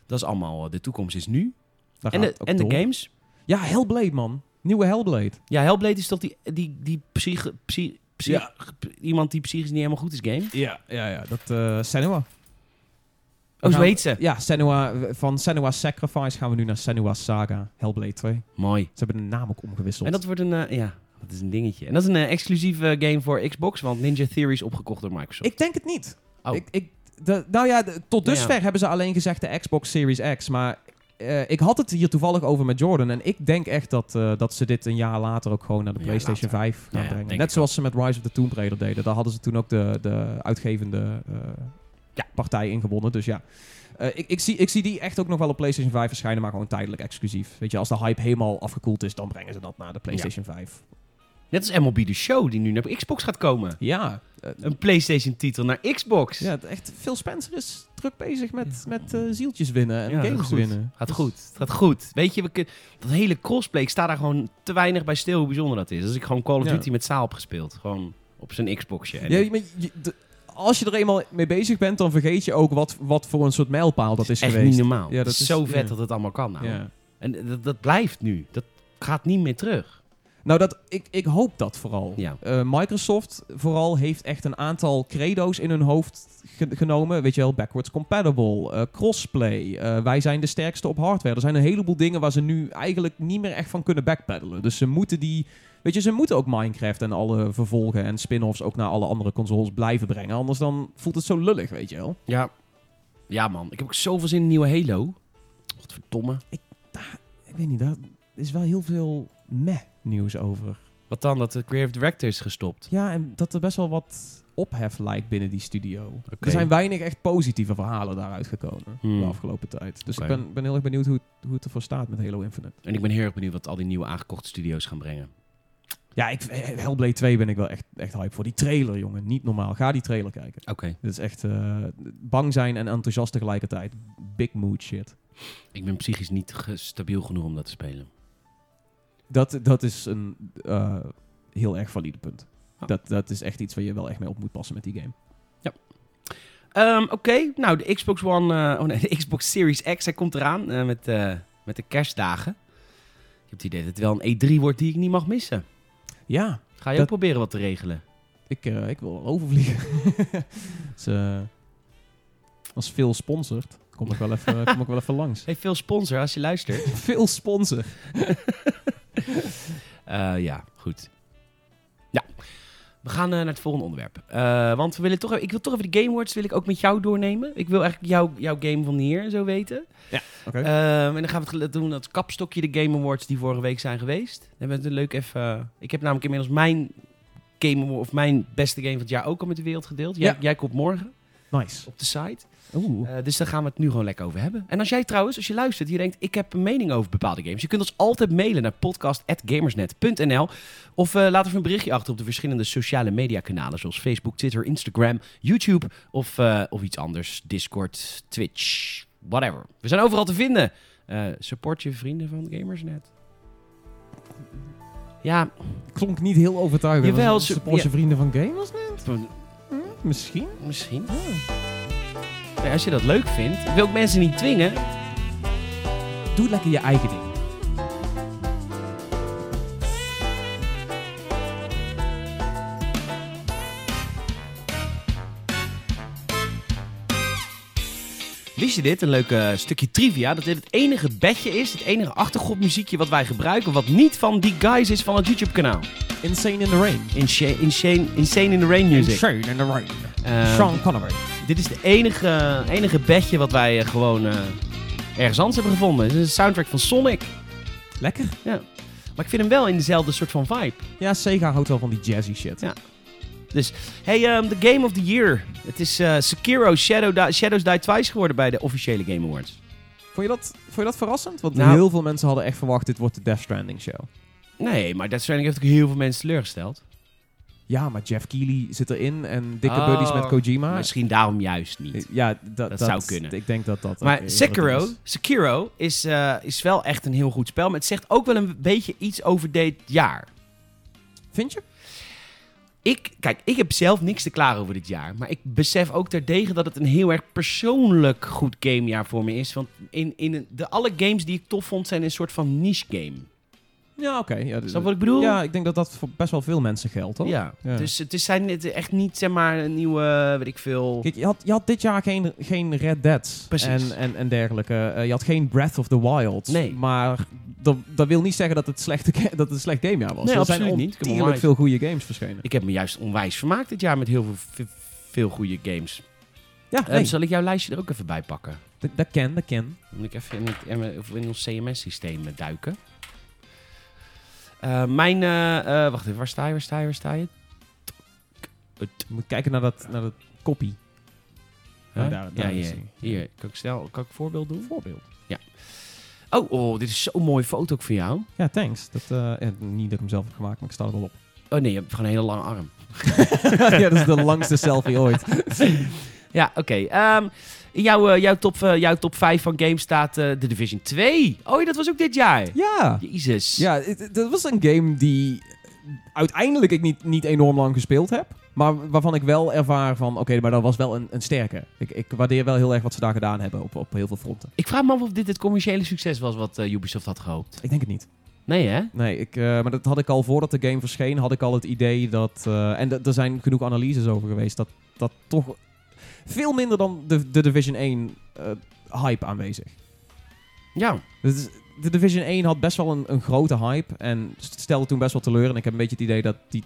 [SPEAKER 1] Dat is allemaal, eh, de toekomst is nu.
[SPEAKER 2] Daar
[SPEAKER 1] En
[SPEAKER 2] gaat
[SPEAKER 1] de,
[SPEAKER 2] het ook
[SPEAKER 1] en de
[SPEAKER 2] door.
[SPEAKER 1] games.
[SPEAKER 2] Ja, Hellblade, man. Nieuwe Hellblade.
[SPEAKER 1] Ja, Hellblade is toch die, die, die psych, psych, psych-
[SPEAKER 2] Ja.
[SPEAKER 1] p- iemand die psychisch niet helemaal goed is game?
[SPEAKER 2] Ja, ja, ja. Dat eh Senua.
[SPEAKER 1] Oh, zo
[SPEAKER 2] Nou,
[SPEAKER 1] heet ze.
[SPEAKER 2] Ja, Senua, van Senua Sacrifice gaan we nu naar Senua Saga. Hellblade 2.
[SPEAKER 1] Mooi.
[SPEAKER 2] Ze hebben de naam ook omgewisseld.
[SPEAKER 1] En dat wordt een, eh, ja, dat is een dingetje. En dat is een eh, exclusieve game voor Xbox, want Ninja Theory is opgekocht door Microsoft.
[SPEAKER 2] Ik denk het niet.
[SPEAKER 1] Oh.
[SPEAKER 2] Ik, ik, de- nou ja, de- tot
[SPEAKER 1] Nou
[SPEAKER 2] dusver
[SPEAKER 1] ja.
[SPEAKER 2] hebben ze alleen gezegd de Xbox Series X. Maar eh, ik had het hier toevallig over met Jordan. En ik denk echt dat, eh, dat ze dit een jaar later ook gewoon naar de
[SPEAKER 1] Een jaar
[SPEAKER 2] PlayStation 5
[SPEAKER 1] Ja,
[SPEAKER 2] gaan
[SPEAKER 1] ja,
[SPEAKER 2] brengen.
[SPEAKER 1] denk
[SPEAKER 2] Net
[SPEAKER 1] ik
[SPEAKER 2] zoals ze met Rise of the Tomb Raider deden. Daar hadden ze toen ook de, de uitgevende eh,
[SPEAKER 1] Ja.
[SPEAKER 2] partij in gewonnen. Dus ja. Eh, ik, ik, zie, ik zie die echt ook nog wel op PlayStation 5 verschijnen, maar gewoon tijdelijk exclusief. Weet je, als de hype helemaal afgekoeld is, dan brengen ze dat naar de PlayStation 5.
[SPEAKER 1] Net als MLB The Show, die nu naar Xbox gaat komen.
[SPEAKER 2] Ja, eh,
[SPEAKER 1] Een PlayStation-titel naar Xbox.
[SPEAKER 2] ja, het- echt. Phil Spencer is druk bezig met, met eh, zieltjes winnen en
[SPEAKER 1] Ja,
[SPEAKER 2] games
[SPEAKER 1] goed.
[SPEAKER 2] winnen. Dus
[SPEAKER 1] Gaat goed, gaat goed. Weet je, we kun- dat hele crossplay, ik sta daar gewoon te weinig bij stil hoe bijzonder dat is. Als ik gewoon Call of
[SPEAKER 2] Ja.
[SPEAKER 1] Duty met zaal heb gespeeld, gewoon op zijn Xboxje. En
[SPEAKER 2] Ja, maar je- de- als je er eenmaal mee bezig bent, dan vergeet je ook wat, wat voor een soort mijlpaal dat is
[SPEAKER 1] echt
[SPEAKER 2] geweest.
[SPEAKER 1] niet normaal.
[SPEAKER 2] Ja,
[SPEAKER 1] Het
[SPEAKER 2] dat
[SPEAKER 1] is
[SPEAKER 2] is-
[SPEAKER 1] zo vet
[SPEAKER 2] ja.
[SPEAKER 1] dat het allemaal kan nou.
[SPEAKER 2] Ja.
[SPEAKER 1] En dat, dat blijft nu. Dat gaat niet meer terug.
[SPEAKER 2] Nou, dat, ik, ik hoop dat vooral.
[SPEAKER 1] Ja.
[SPEAKER 2] Eh, Microsoft vooral heeft echt een aantal credo's in hun hoofd ge- genomen. Weet je wel, backwards compatible, eh, crossplay. eh, wij zijn de sterkste op hardware. Er zijn een heleboel dingen waar ze nu eigenlijk niet meer echt van kunnen backpedalen. Dus ze moeten die... Weet je, ze moeten ook Minecraft en alle vervolgen en spin-offs ook naar alle andere consoles blijven brengen. Anders dan voelt het zo lullig, weet je wel.
[SPEAKER 1] Ja. Ja man, ik heb ook zoveel zin in een nieuwe Halo. Godverdomme.
[SPEAKER 2] Ik weet niet, daar is wel heel veel meh nieuws over.
[SPEAKER 1] Wat dan, dat de creative director is gestopt.
[SPEAKER 2] Ja, en dat er best wel wat ophef lijkt binnen die studio.
[SPEAKER 1] Oké.
[SPEAKER 2] Er zijn weinig echt positieve verhalen daaruit gekomen
[SPEAKER 1] Hmm.
[SPEAKER 2] de afgelopen tijd. Dus
[SPEAKER 1] Oké.
[SPEAKER 2] ik ben, ben heel erg benieuwd hoe, het- hoe het ervoor staat met Halo Infinite.
[SPEAKER 1] En ik ben heel erg benieuwd wat al die nieuwe aangekochte studio's gaan brengen.
[SPEAKER 2] Ja, ik, eh, Hellblade 2 ben ik wel echt, echt hype voor. Die trailer, jongen. Niet normaal. Ga die trailer kijken.
[SPEAKER 1] Oké.
[SPEAKER 2] Dit is echt eh, bang zijn en enthousiast tegelijkertijd. Big mood shit.
[SPEAKER 1] Ik ben psychisch niet ge- stabiel genoeg om dat te spelen.
[SPEAKER 2] Dat, dat is een eh, heel erg valide punt.
[SPEAKER 1] Ah.
[SPEAKER 2] Dat, dat is echt iets waar je wel echt mee op moet passen met die game.
[SPEAKER 1] Ehm, Oké, nou de Xbox One, eh, oh nee, de Xbox Series X, hij komt eraan eh, met, eh, met de kerstdagen. Ik heb het idee dat het wel een E3 wordt die ik niet mag missen.
[SPEAKER 2] Ja,
[SPEAKER 1] Ga je
[SPEAKER 2] Dat-
[SPEAKER 1] ook proberen wat te regelen?
[SPEAKER 2] Ik, eh, ik wil wel overvliegen. dus, eh, als veel sponsort, kom ik wel even, eh, kom ik wel even langs.
[SPEAKER 1] Hey, veel sponsor als je luistert.
[SPEAKER 2] Veel sponsor.
[SPEAKER 1] Eh, ja, goed. Ja, we gaan eh, naar het volgende onderwerp. Eh, want we willen toch, ik wil toch even de Game Awards wil ik ook met jou doornemen. Ik wil eigenlijk jouw jouw game van hier en zo weten. Ehm, en dan gaan we het gel- doen, dat kapstokje, de Game Awards die vorige week zijn geweest. Dan hebben we het leuk even... eh, ik heb namelijk inmiddels mijn, game, Award- of mijn beste game van het jaar ook al met de wereld gedeeld. Jij,
[SPEAKER 2] Ja.
[SPEAKER 1] jij komt morgen
[SPEAKER 2] nice.
[SPEAKER 1] op de site.
[SPEAKER 2] Oeh.
[SPEAKER 1] Eh, dus daar gaan we het nu gewoon lekker over hebben. En als jij trouwens, als je luistert, je denkt, ik heb een mening over bepaalde games. Je kunt ons altijd mailen naar podcast.gamersnet.nl of eh, laat even een berichtje achter op de verschillende sociale mediakanalen zoals Facebook, Twitter, Instagram, YouTube of, eh, of iets anders. Discord, Twitch, whatever. We zijn overal te vinden. Eh, support je vrienden van Gamersnet. Ja,
[SPEAKER 2] Klonk niet heel overtuigend.
[SPEAKER 1] Jawel,
[SPEAKER 2] Was-
[SPEAKER 1] ze-
[SPEAKER 2] support je
[SPEAKER 1] ja.
[SPEAKER 2] vrienden van gamers? Misschien.
[SPEAKER 1] misschien. Ja, als je dat leuk vindt, ik wil ik mensen niet dwingen.
[SPEAKER 2] Doe lekker je eigen ding.
[SPEAKER 1] Wist je dit? Een leuk eh, stukje trivia. Dat dit het enige bedje is, het enige achtergrondmuziekje wat wij gebruiken, wat niet van die guys is van het YouTube-kanaal.
[SPEAKER 2] Insane in the Rain.
[SPEAKER 1] Insane, insane, insane in the Rain music.
[SPEAKER 2] Insane in the Rain.
[SPEAKER 1] Eh,
[SPEAKER 2] Sean Connery.
[SPEAKER 1] dit is het enige, enige bedje wat wij eh, gewoon eh, ergens anders hebben gevonden. Het is een soundtrack van Sonic.
[SPEAKER 2] Lekker.
[SPEAKER 1] Ja. Maar ik vind hem wel in dezelfde soort van vibe.
[SPEAKER 2] Ja, Sega houdt wel van die jazzy shit.
[SPEAKER 1] Ja. Hey, ehm, de Game of the Year. Het is eh, Sekiro Shadow Di- Shadows Die Twice geworden bij de officiële Game Awards.
[SPEAKER 2] Vond je dat, vond je dat verrassend? Want
[SPEAKER 1] Nou-
[SPEAKER 2] heel veel mensen hadden echt verwacht, dit wordt de Death Stranding show.
[SPEAKER 1] Nee, maar Death Stranding heeft ook heel veel mensen teleurgesteld.
[SPEAKER 2] Ja, maar Jeff Keighley zit erin en dikke
[SPEAKER 1] Oh.
[SPEAKER 2] buddies met Kojima.
[SPEAKER 1] Misschien daarom juist niet.
[SPEAKER 2] Ja, dat,
[SPEAKER 1] Dat zou kunnen.
[SPEAKER 2] Ik denk dat dat...
[SPEAKER 1] Maar
[SPEAKER 2] ook, eh,
[SPEAKER 1] Sekiro,
[SPEAKER 2] dat is.
[SPEAKER 1] Sekiro is, eh, is wel echt een heel goed spel. Maar het zegt ook wel een beetje iets over dit jaar.
[SPEAKER 2] Vind je?
[SPEAKER 1] Ik, kijk, ik heb zelf niks te klagen over dit jaar. Maar ik besef ook terdege dat het een heel erg persoonlijk goed gamejaar voor me is. Want in, in een- de, alle games die ik tof vond zijn een soort van niche game.
[SPEAKER 2] Ja, oké. Ja, d-
[SPEAKER 1] Snap je wat ik bedoel?
[SPEAKER 2] Ja, ik denk dat dat voor best wel veel mensen geldt, toch?
[SPEAKER 1] Ja.
[SPEAKER 2] Ja.
[SPEAKER 1] Dus het is zijn het echt niet, zeg maar, een nieuwe, weet ik veel...
[SPEAKER 2] Kijk, je had, je had dit jaar geen, geen Red Dead's
[SPEAKER 1] Precies.
[SPEAKER 2] En, en, en dergelijke. Eh, je had geen Breath of the Wild.
[SPEAKER 1] Nee.
[SPEAKER 2] Maar dat, dat wil niet zeggen dat het, slechte, ga- dat het een slecht gamejaar was.
[SPEAKER 1] Nee,
[SPEAKER 2] er
[SPEAKER 1] absoluut
[SPEAKER 2] zijn
[SPEAKER 1] niet. Come on,
[SPEAKER 2] ontiegelijk
[SPEAKER 1] live.
[SPEAKER 2] veel goede games verschenen.
[SPEAKER 1] Ik heb me juist onwijs vermaakt dit jaar met heel veel, veel, veel goede games.
[SPEAKER 2] ja,
[SPEAKER 1] Eh,
[SPEAKER 2] nee,
[SPEAKER 1] zal ik jouw lijstje er ook even bij pakken?
[SPEAKER 2] dat, dat ken, dat ken.
[SPEAKER 1] Moet ik even in, het, M- of in ons CMS-systeem eh, duiken. Eh, mijn... eh, eh, wacht even, waar sta je, waar sta je, waar sta je?
[SPEAKER 2] Je moet kijken naar dat, naar dat copy.
[SPEAKER 1] Huh?
[SPEAKER 2] Ja, daar, daar
[SPEAKER 1] ja,
[SPEAKER 2] is
[SPEAKER 1] ja.
[SPEAKER 2] hij.
[SPEAKER 1] Hier, kan ik snel kan ik een voorbeeld doen?
[SPEAKER 2] Voorbeeld.
[SPEAKER 1] Oh, oh, dit is zo'n mooie foto ook van jou.
[SPEAKER 2] Ja, thanks. Dat, eh, eh, niet dat ik hem zelf heb gemaakt, maar ik sta er wel op.
[SPEAKER 1] Oh nee, je hebt gewoon een hele lange arm.
[SPEAKER 2] ja, dat is de langste selfie ooit.
[SPEAKER 1] Ja, oké. ehm, in jouw, eh, jouw, top, eh, jouw top 5 van games staat eh The Division 2. Oh, ja, dat was ook dit jaar.
[SPEAKER 2] Ja.
[SPEAKER 1] Jezus.
[SPEAKER 2] Ja, het- het- dat was een game die uiteindelijk ik niet, niet enorm lang gespeeld heb. Maar waarvan ik wel ervaar van, oké, maar dat was wel een, een sterke. Ik, ik waardeer wel heel erg wat ze daar gedaan hebben op, op heel veel fronten.
[SPEAKER 1] Ik vraag me af of dit het commerciële succes was wat eh, Ubisoft had gehoopt.
[SPEAKER 2] Ik denk het niet.
[SPEAKER 1] Nee, hè?
[SPEAKER 2] Nee, ik, eh, maar dat had ik al voordat de game verscheen, had ik al het idee dat... eh, en d- er zijn genoeg analyses over geweest, dat, dat toch veel minder dan de, de Division 1 eh, hype aanwezig.
[SPEAKER 1] Ja.
[SPEAKER 2] Dit is- de Division 1 had best wel een, een grote hype en st- stelde toen best wel teleur. En ik heb een beetje het idee dat die,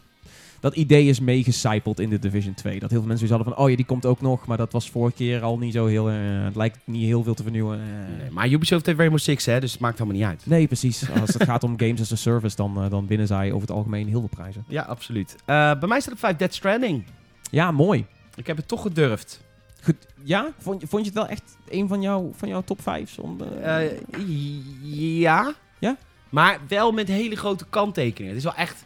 [SPEAKER 2] dat idee is meegecijpeld in de Division 2. Dat heel veel mensen zoiets hadden van, oh ja, die komt ook nog. Maar dat was vorige keer al niet zo heel... eh, het lijkt niet heel veel te vernieuwen. eh.
[SPEAKER 1] Nee, maar Ubisoft heeft Rainbow Six, hè? Dus het maakt helemaal niet uit.
[SPEAKER 2] Nee, precies. Als het gaat om games as a service, dan, eh, dan winnen zij over het algemeen heel veel prijzen.
[SPEAKER 1] Ja, absoluut. Eh, bij mij staat op 5 Dead Stranding.
[SPEAKER 2] Ja, mooi.
[SPEAKER 1] Ik heb het toch gedurfd.
[SPEAKER 2] Goed. ja, vond, je- vond je het wel echt een van, jou, van jouw top 5's? Om, eh,
[SPEAKER 1] Eh, ja.
[SPEAKER 2] Ja?
[SPEAKER 1] Maar wel met hele grote kanttekeningen. Het is wel echt...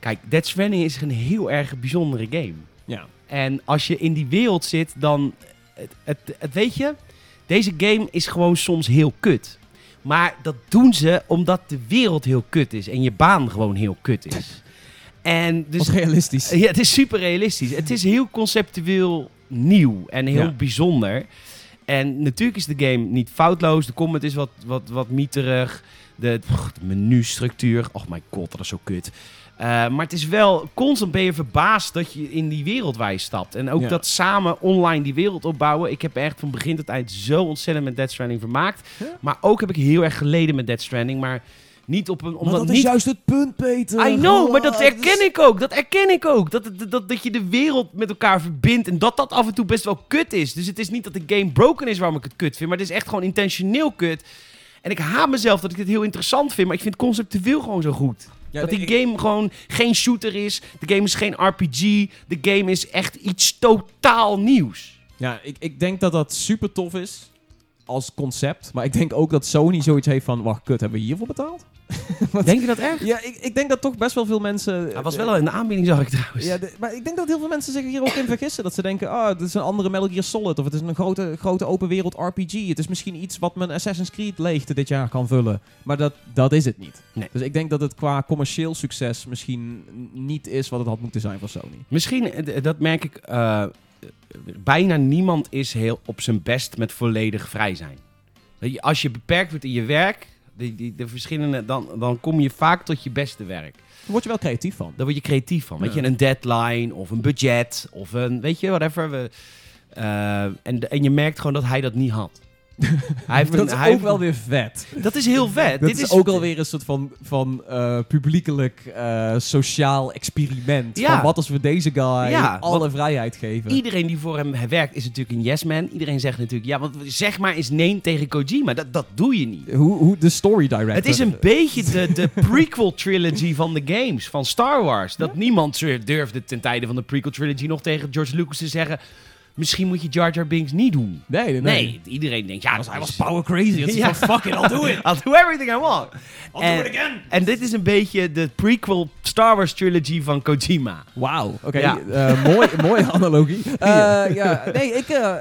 [SPEAKER 1] Kijk, Dead Stranding is een heel erg bijzondere game.
[SPEAKER 2] ja.
[SPEAKER 1] En als je in die wereld zit, dan... Het, het, het- weet je, deze game is gewoon soms heel kut. Maar dat doen ze omdat de wereld heel kut is en je baan gewoon heel kut is. En dus
[SPEAKER 2] was realistisch.
[SPEAKER 1] ja, het is super realistisch. Het is heel conceptueel nieuw en heel
[SPEAKER 2] Ja.
[SPEAKER 1] bijzonder. En natuurlijk is de game niet foutloos. De combat is wat, wat, wat mieterig. De, pff, de menustructuur. Oh my god, dat is zo kut. Eh, maar het is wel, constant ben je verbaasd dat je in die wereld waar je stapt. En ook
[SPEAKER 2] Ja.
[SPEAKER 1] dat samen online die wereld opbouwen. Ik heb echt van begin tot eind zo ontzettend met Dead Stranding vermaakt.
[SPEAKER 2] Ja.
[SPEAKER 1] Maar ook heb ik heel erg geleden met Dead Stranding. Maar niet op een... Omdat
[SPEAKER 2] maar dat
[SPEAKER 1] niet
[SPEAKER 2] is juist het punt, Peter. Oh,
[SPEAKER 1] I know, maar dat
[SPEAKER 2] ik.
[SPEAKER 1] herken ik ook. Dat herken ik ook. Dat, het- dat, dat je de wereld met elkaar verbindt en dat dat af en toe best wel kut is. Dus het is niet dat de game broken is waarom ik het kut vind, maar het is echt gewoon intentioneel kut. En ik haat mezelf dat ik dit heel interessant vind, maar ik vind het conceptueel gewoon zo goed.
[SPEAKER 2] Ja,
[SPEAKER 1] dat
[SPEAKER 2] nee,
[SPEAKER 1] die
[SPEAKER 2] ik-
[SPEAKER 1] game gewoon geen shooter is, de game is geen RPG, de game is echt iets totaal nieuws.
[SPEAKER 2] Ja, ik, ik denk dat dat super tof is als concept. Maar ik denk ook dat Sony zoiets heeft van... Wacht, kut, hebben we hiervoor betaald?
[SPEAKER 1] Denk je dat echt?
[SPEAKER 2] Ja, ik, ik denk dat toch best wel veel mensen... eh,
[SPEAKER 1] Hij was wel al in de aanbieding, zag ik trouwens.
[SPEAKER 2] Ja, de- maar ik denk dat heel veel mensen zich hier ook in vergissen. Dat ze denken, ah, dit is een andere Metal Gear Solid. Of het is een grote, grote open wereld RPG. Het is misschien iets wat mijn Assassin's Creed leegte dit jaar kan vullen. Maar dat, dat is het niet.
[SPEAKER 1] Nee.
[SPEAKER 2] Dus ik denk dat het qua commercieel succes misschien niet is wat het had moeten zijn voor Sony.
[SPEAKER 1] Misschien, eh, d- dat merk ik. eh, eh, bijna niemand is heel op zijn best met volledig vrij zijn. Weet je, Als je beperkt wordt in je werk, die, die, de verschillende, dan, dan kom je vaak tot je beste werk.
[SPEAKER 2] Daar word je wel creatief van.
[SPEAKER 1] Daar word je creatief van. Weet
[SPEAKER 2] Ja.
[SPEAKER 1] je, een deadline of een budget of een, weet je, whatever. We, eh, en, de- en je merkt gewoon dat hij dat niet had. hij heeft
[SPEAKER 2] dat
[SPEAKER 1] een-
[SPEAKER 2] is
[SPEAKER 1] hij
[SPEAKER 2] ook
[SPEAKER 1] heeft-
[SPEAKER 2] wel weer vet.
[SPEAKER 1] Dat is heel vet.
[SPEAKER 2] Dat
[SPEAKER 1] Dit
[SPEAKER 2] is, ook alweer een soort van, van eh, publiekelijk eh, sociaal experiment.
[SPEAKER 1] Ja.
[SPEAKER 2] Van wat als we deze guy
[SPEAKER 1] Ja,
[SPEAKER 2] alle vrijheid geven.
[SPEAKER 1] Iedereen die voor hem werkt is natuurlijk een yes man. Iedereen zegt natuurlijk, ja, want zeg maar is nee tegen Kojima. Dat, dat doe je niet.
[SPEAKER 2] Hoe, hoe de story director.
[SPEAKER 1] Het is een beetje de, de prequel trilogy van de games, van Star Wars. Dat niemand zo- durfde ten tijde van de prequel trilogy nog tegen George Lucas te zeggen... Misschien moet je Jar Jar Binks niet doen.
[SPEAKER 2] Nee, nee, nee.
[SPEAKER 1] Nee, iedereen denkt... Ja,
[SPEAKER 2] Hij was- hij
[SPEAKER 1] dat
[SPEAKER 2] was
[SPEAKER 1] is-
[SPEAKER 2] power crazy. Dat is
[SPEAKER 1] Ja.
[SPEAKER 2] van fucking al doe it.
[SPEAKER 1] I'll do everything I want.
[SPEAKER 2] I'll
[SPEAKER 1] en,
[SPEAKER 2] do it again.
[SPEAKER 1] en dit is een beetje de prequel Star Wars trilogy van Kojima.
[SPEAKER 2] Wauw. Oké,
[SPEAKER 1] Ja.
[SPEAKER 2] eh, mooi, mooie analogie. Eh, ja, nee, ik, eh,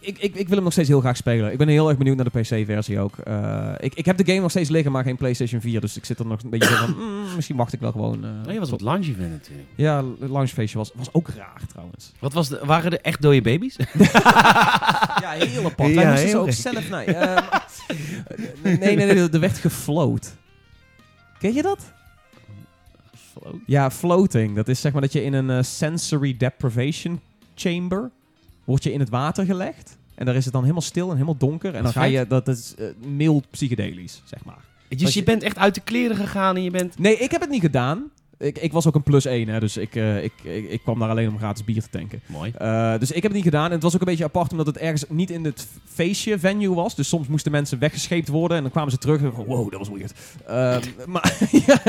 [SPEAKER 2] ik, ik, ik wil hem nog steeds heel graag spelen. Ik ben heel erg benieuwd naar de PC-versie ook. Eh, ik, ik heb de game nog steeds liggen, maar geen PlayStation 4. Dus ik zit er nog een beetje zo van... mm, misschien wacht ik wel gewoon... eh,
[SPEAKER 1] Nee, Oh, je was
[SPEAKER 2] tot-
[SPEAKER 1] wat lunch event natuurlijk.
[SPEAKER 2] Ja, het launchfeestje was, was ook raar trouwens.
[SPEAKER 1] Wat was de, waren er echt dode baby's?
[SPEAKER 2] Ja, heel apart.
[SPEAKER 1] Ja,
[SPEAKER 2] Wij moesten ze
[SPEAKER 1] heel
[SPEAKER 2] ook
[SPEAKER 1] gek.
[SPEAKER 2] zelf... Nee, eh, nee, nee, nee, er werd gefloat. Ken je dat? Ja, floating. Dat is zeg maar dat je in een eh, sensory deprivation chamber... word je in het water gelegd. En daar is het dan helemaal stil en helemaal donker. En dan
[SPEAKER 1] Wat
[SPEAKER 2] ga
[SPEAKER 1] vet.
[SPEAKER 2] je... Dat is eh, mild psychedelisch, zeg maar.
[SPEAKER 1] Dus je bent echt uit de kleren gegaan en je bent...
[SPEAKER 2] Nee, ik heb het niet gedaan. Ik, ik was ook een plus één, hè, dus ik, eh, ik, ik, ik kwam daar alleen om gratis bier te tanken.
[SPEAKER 1] Mooi.
[SPEAKER 2] Eh, dus ik heb het niet gedaan. En het was ook een beetje apart omdat het ergens niet in het feestje venue was. Dus soms moesten mensen weggescheept worden. En dan kwamen ze terug. En van, wow, dat was weird. Ehm, maar, ja,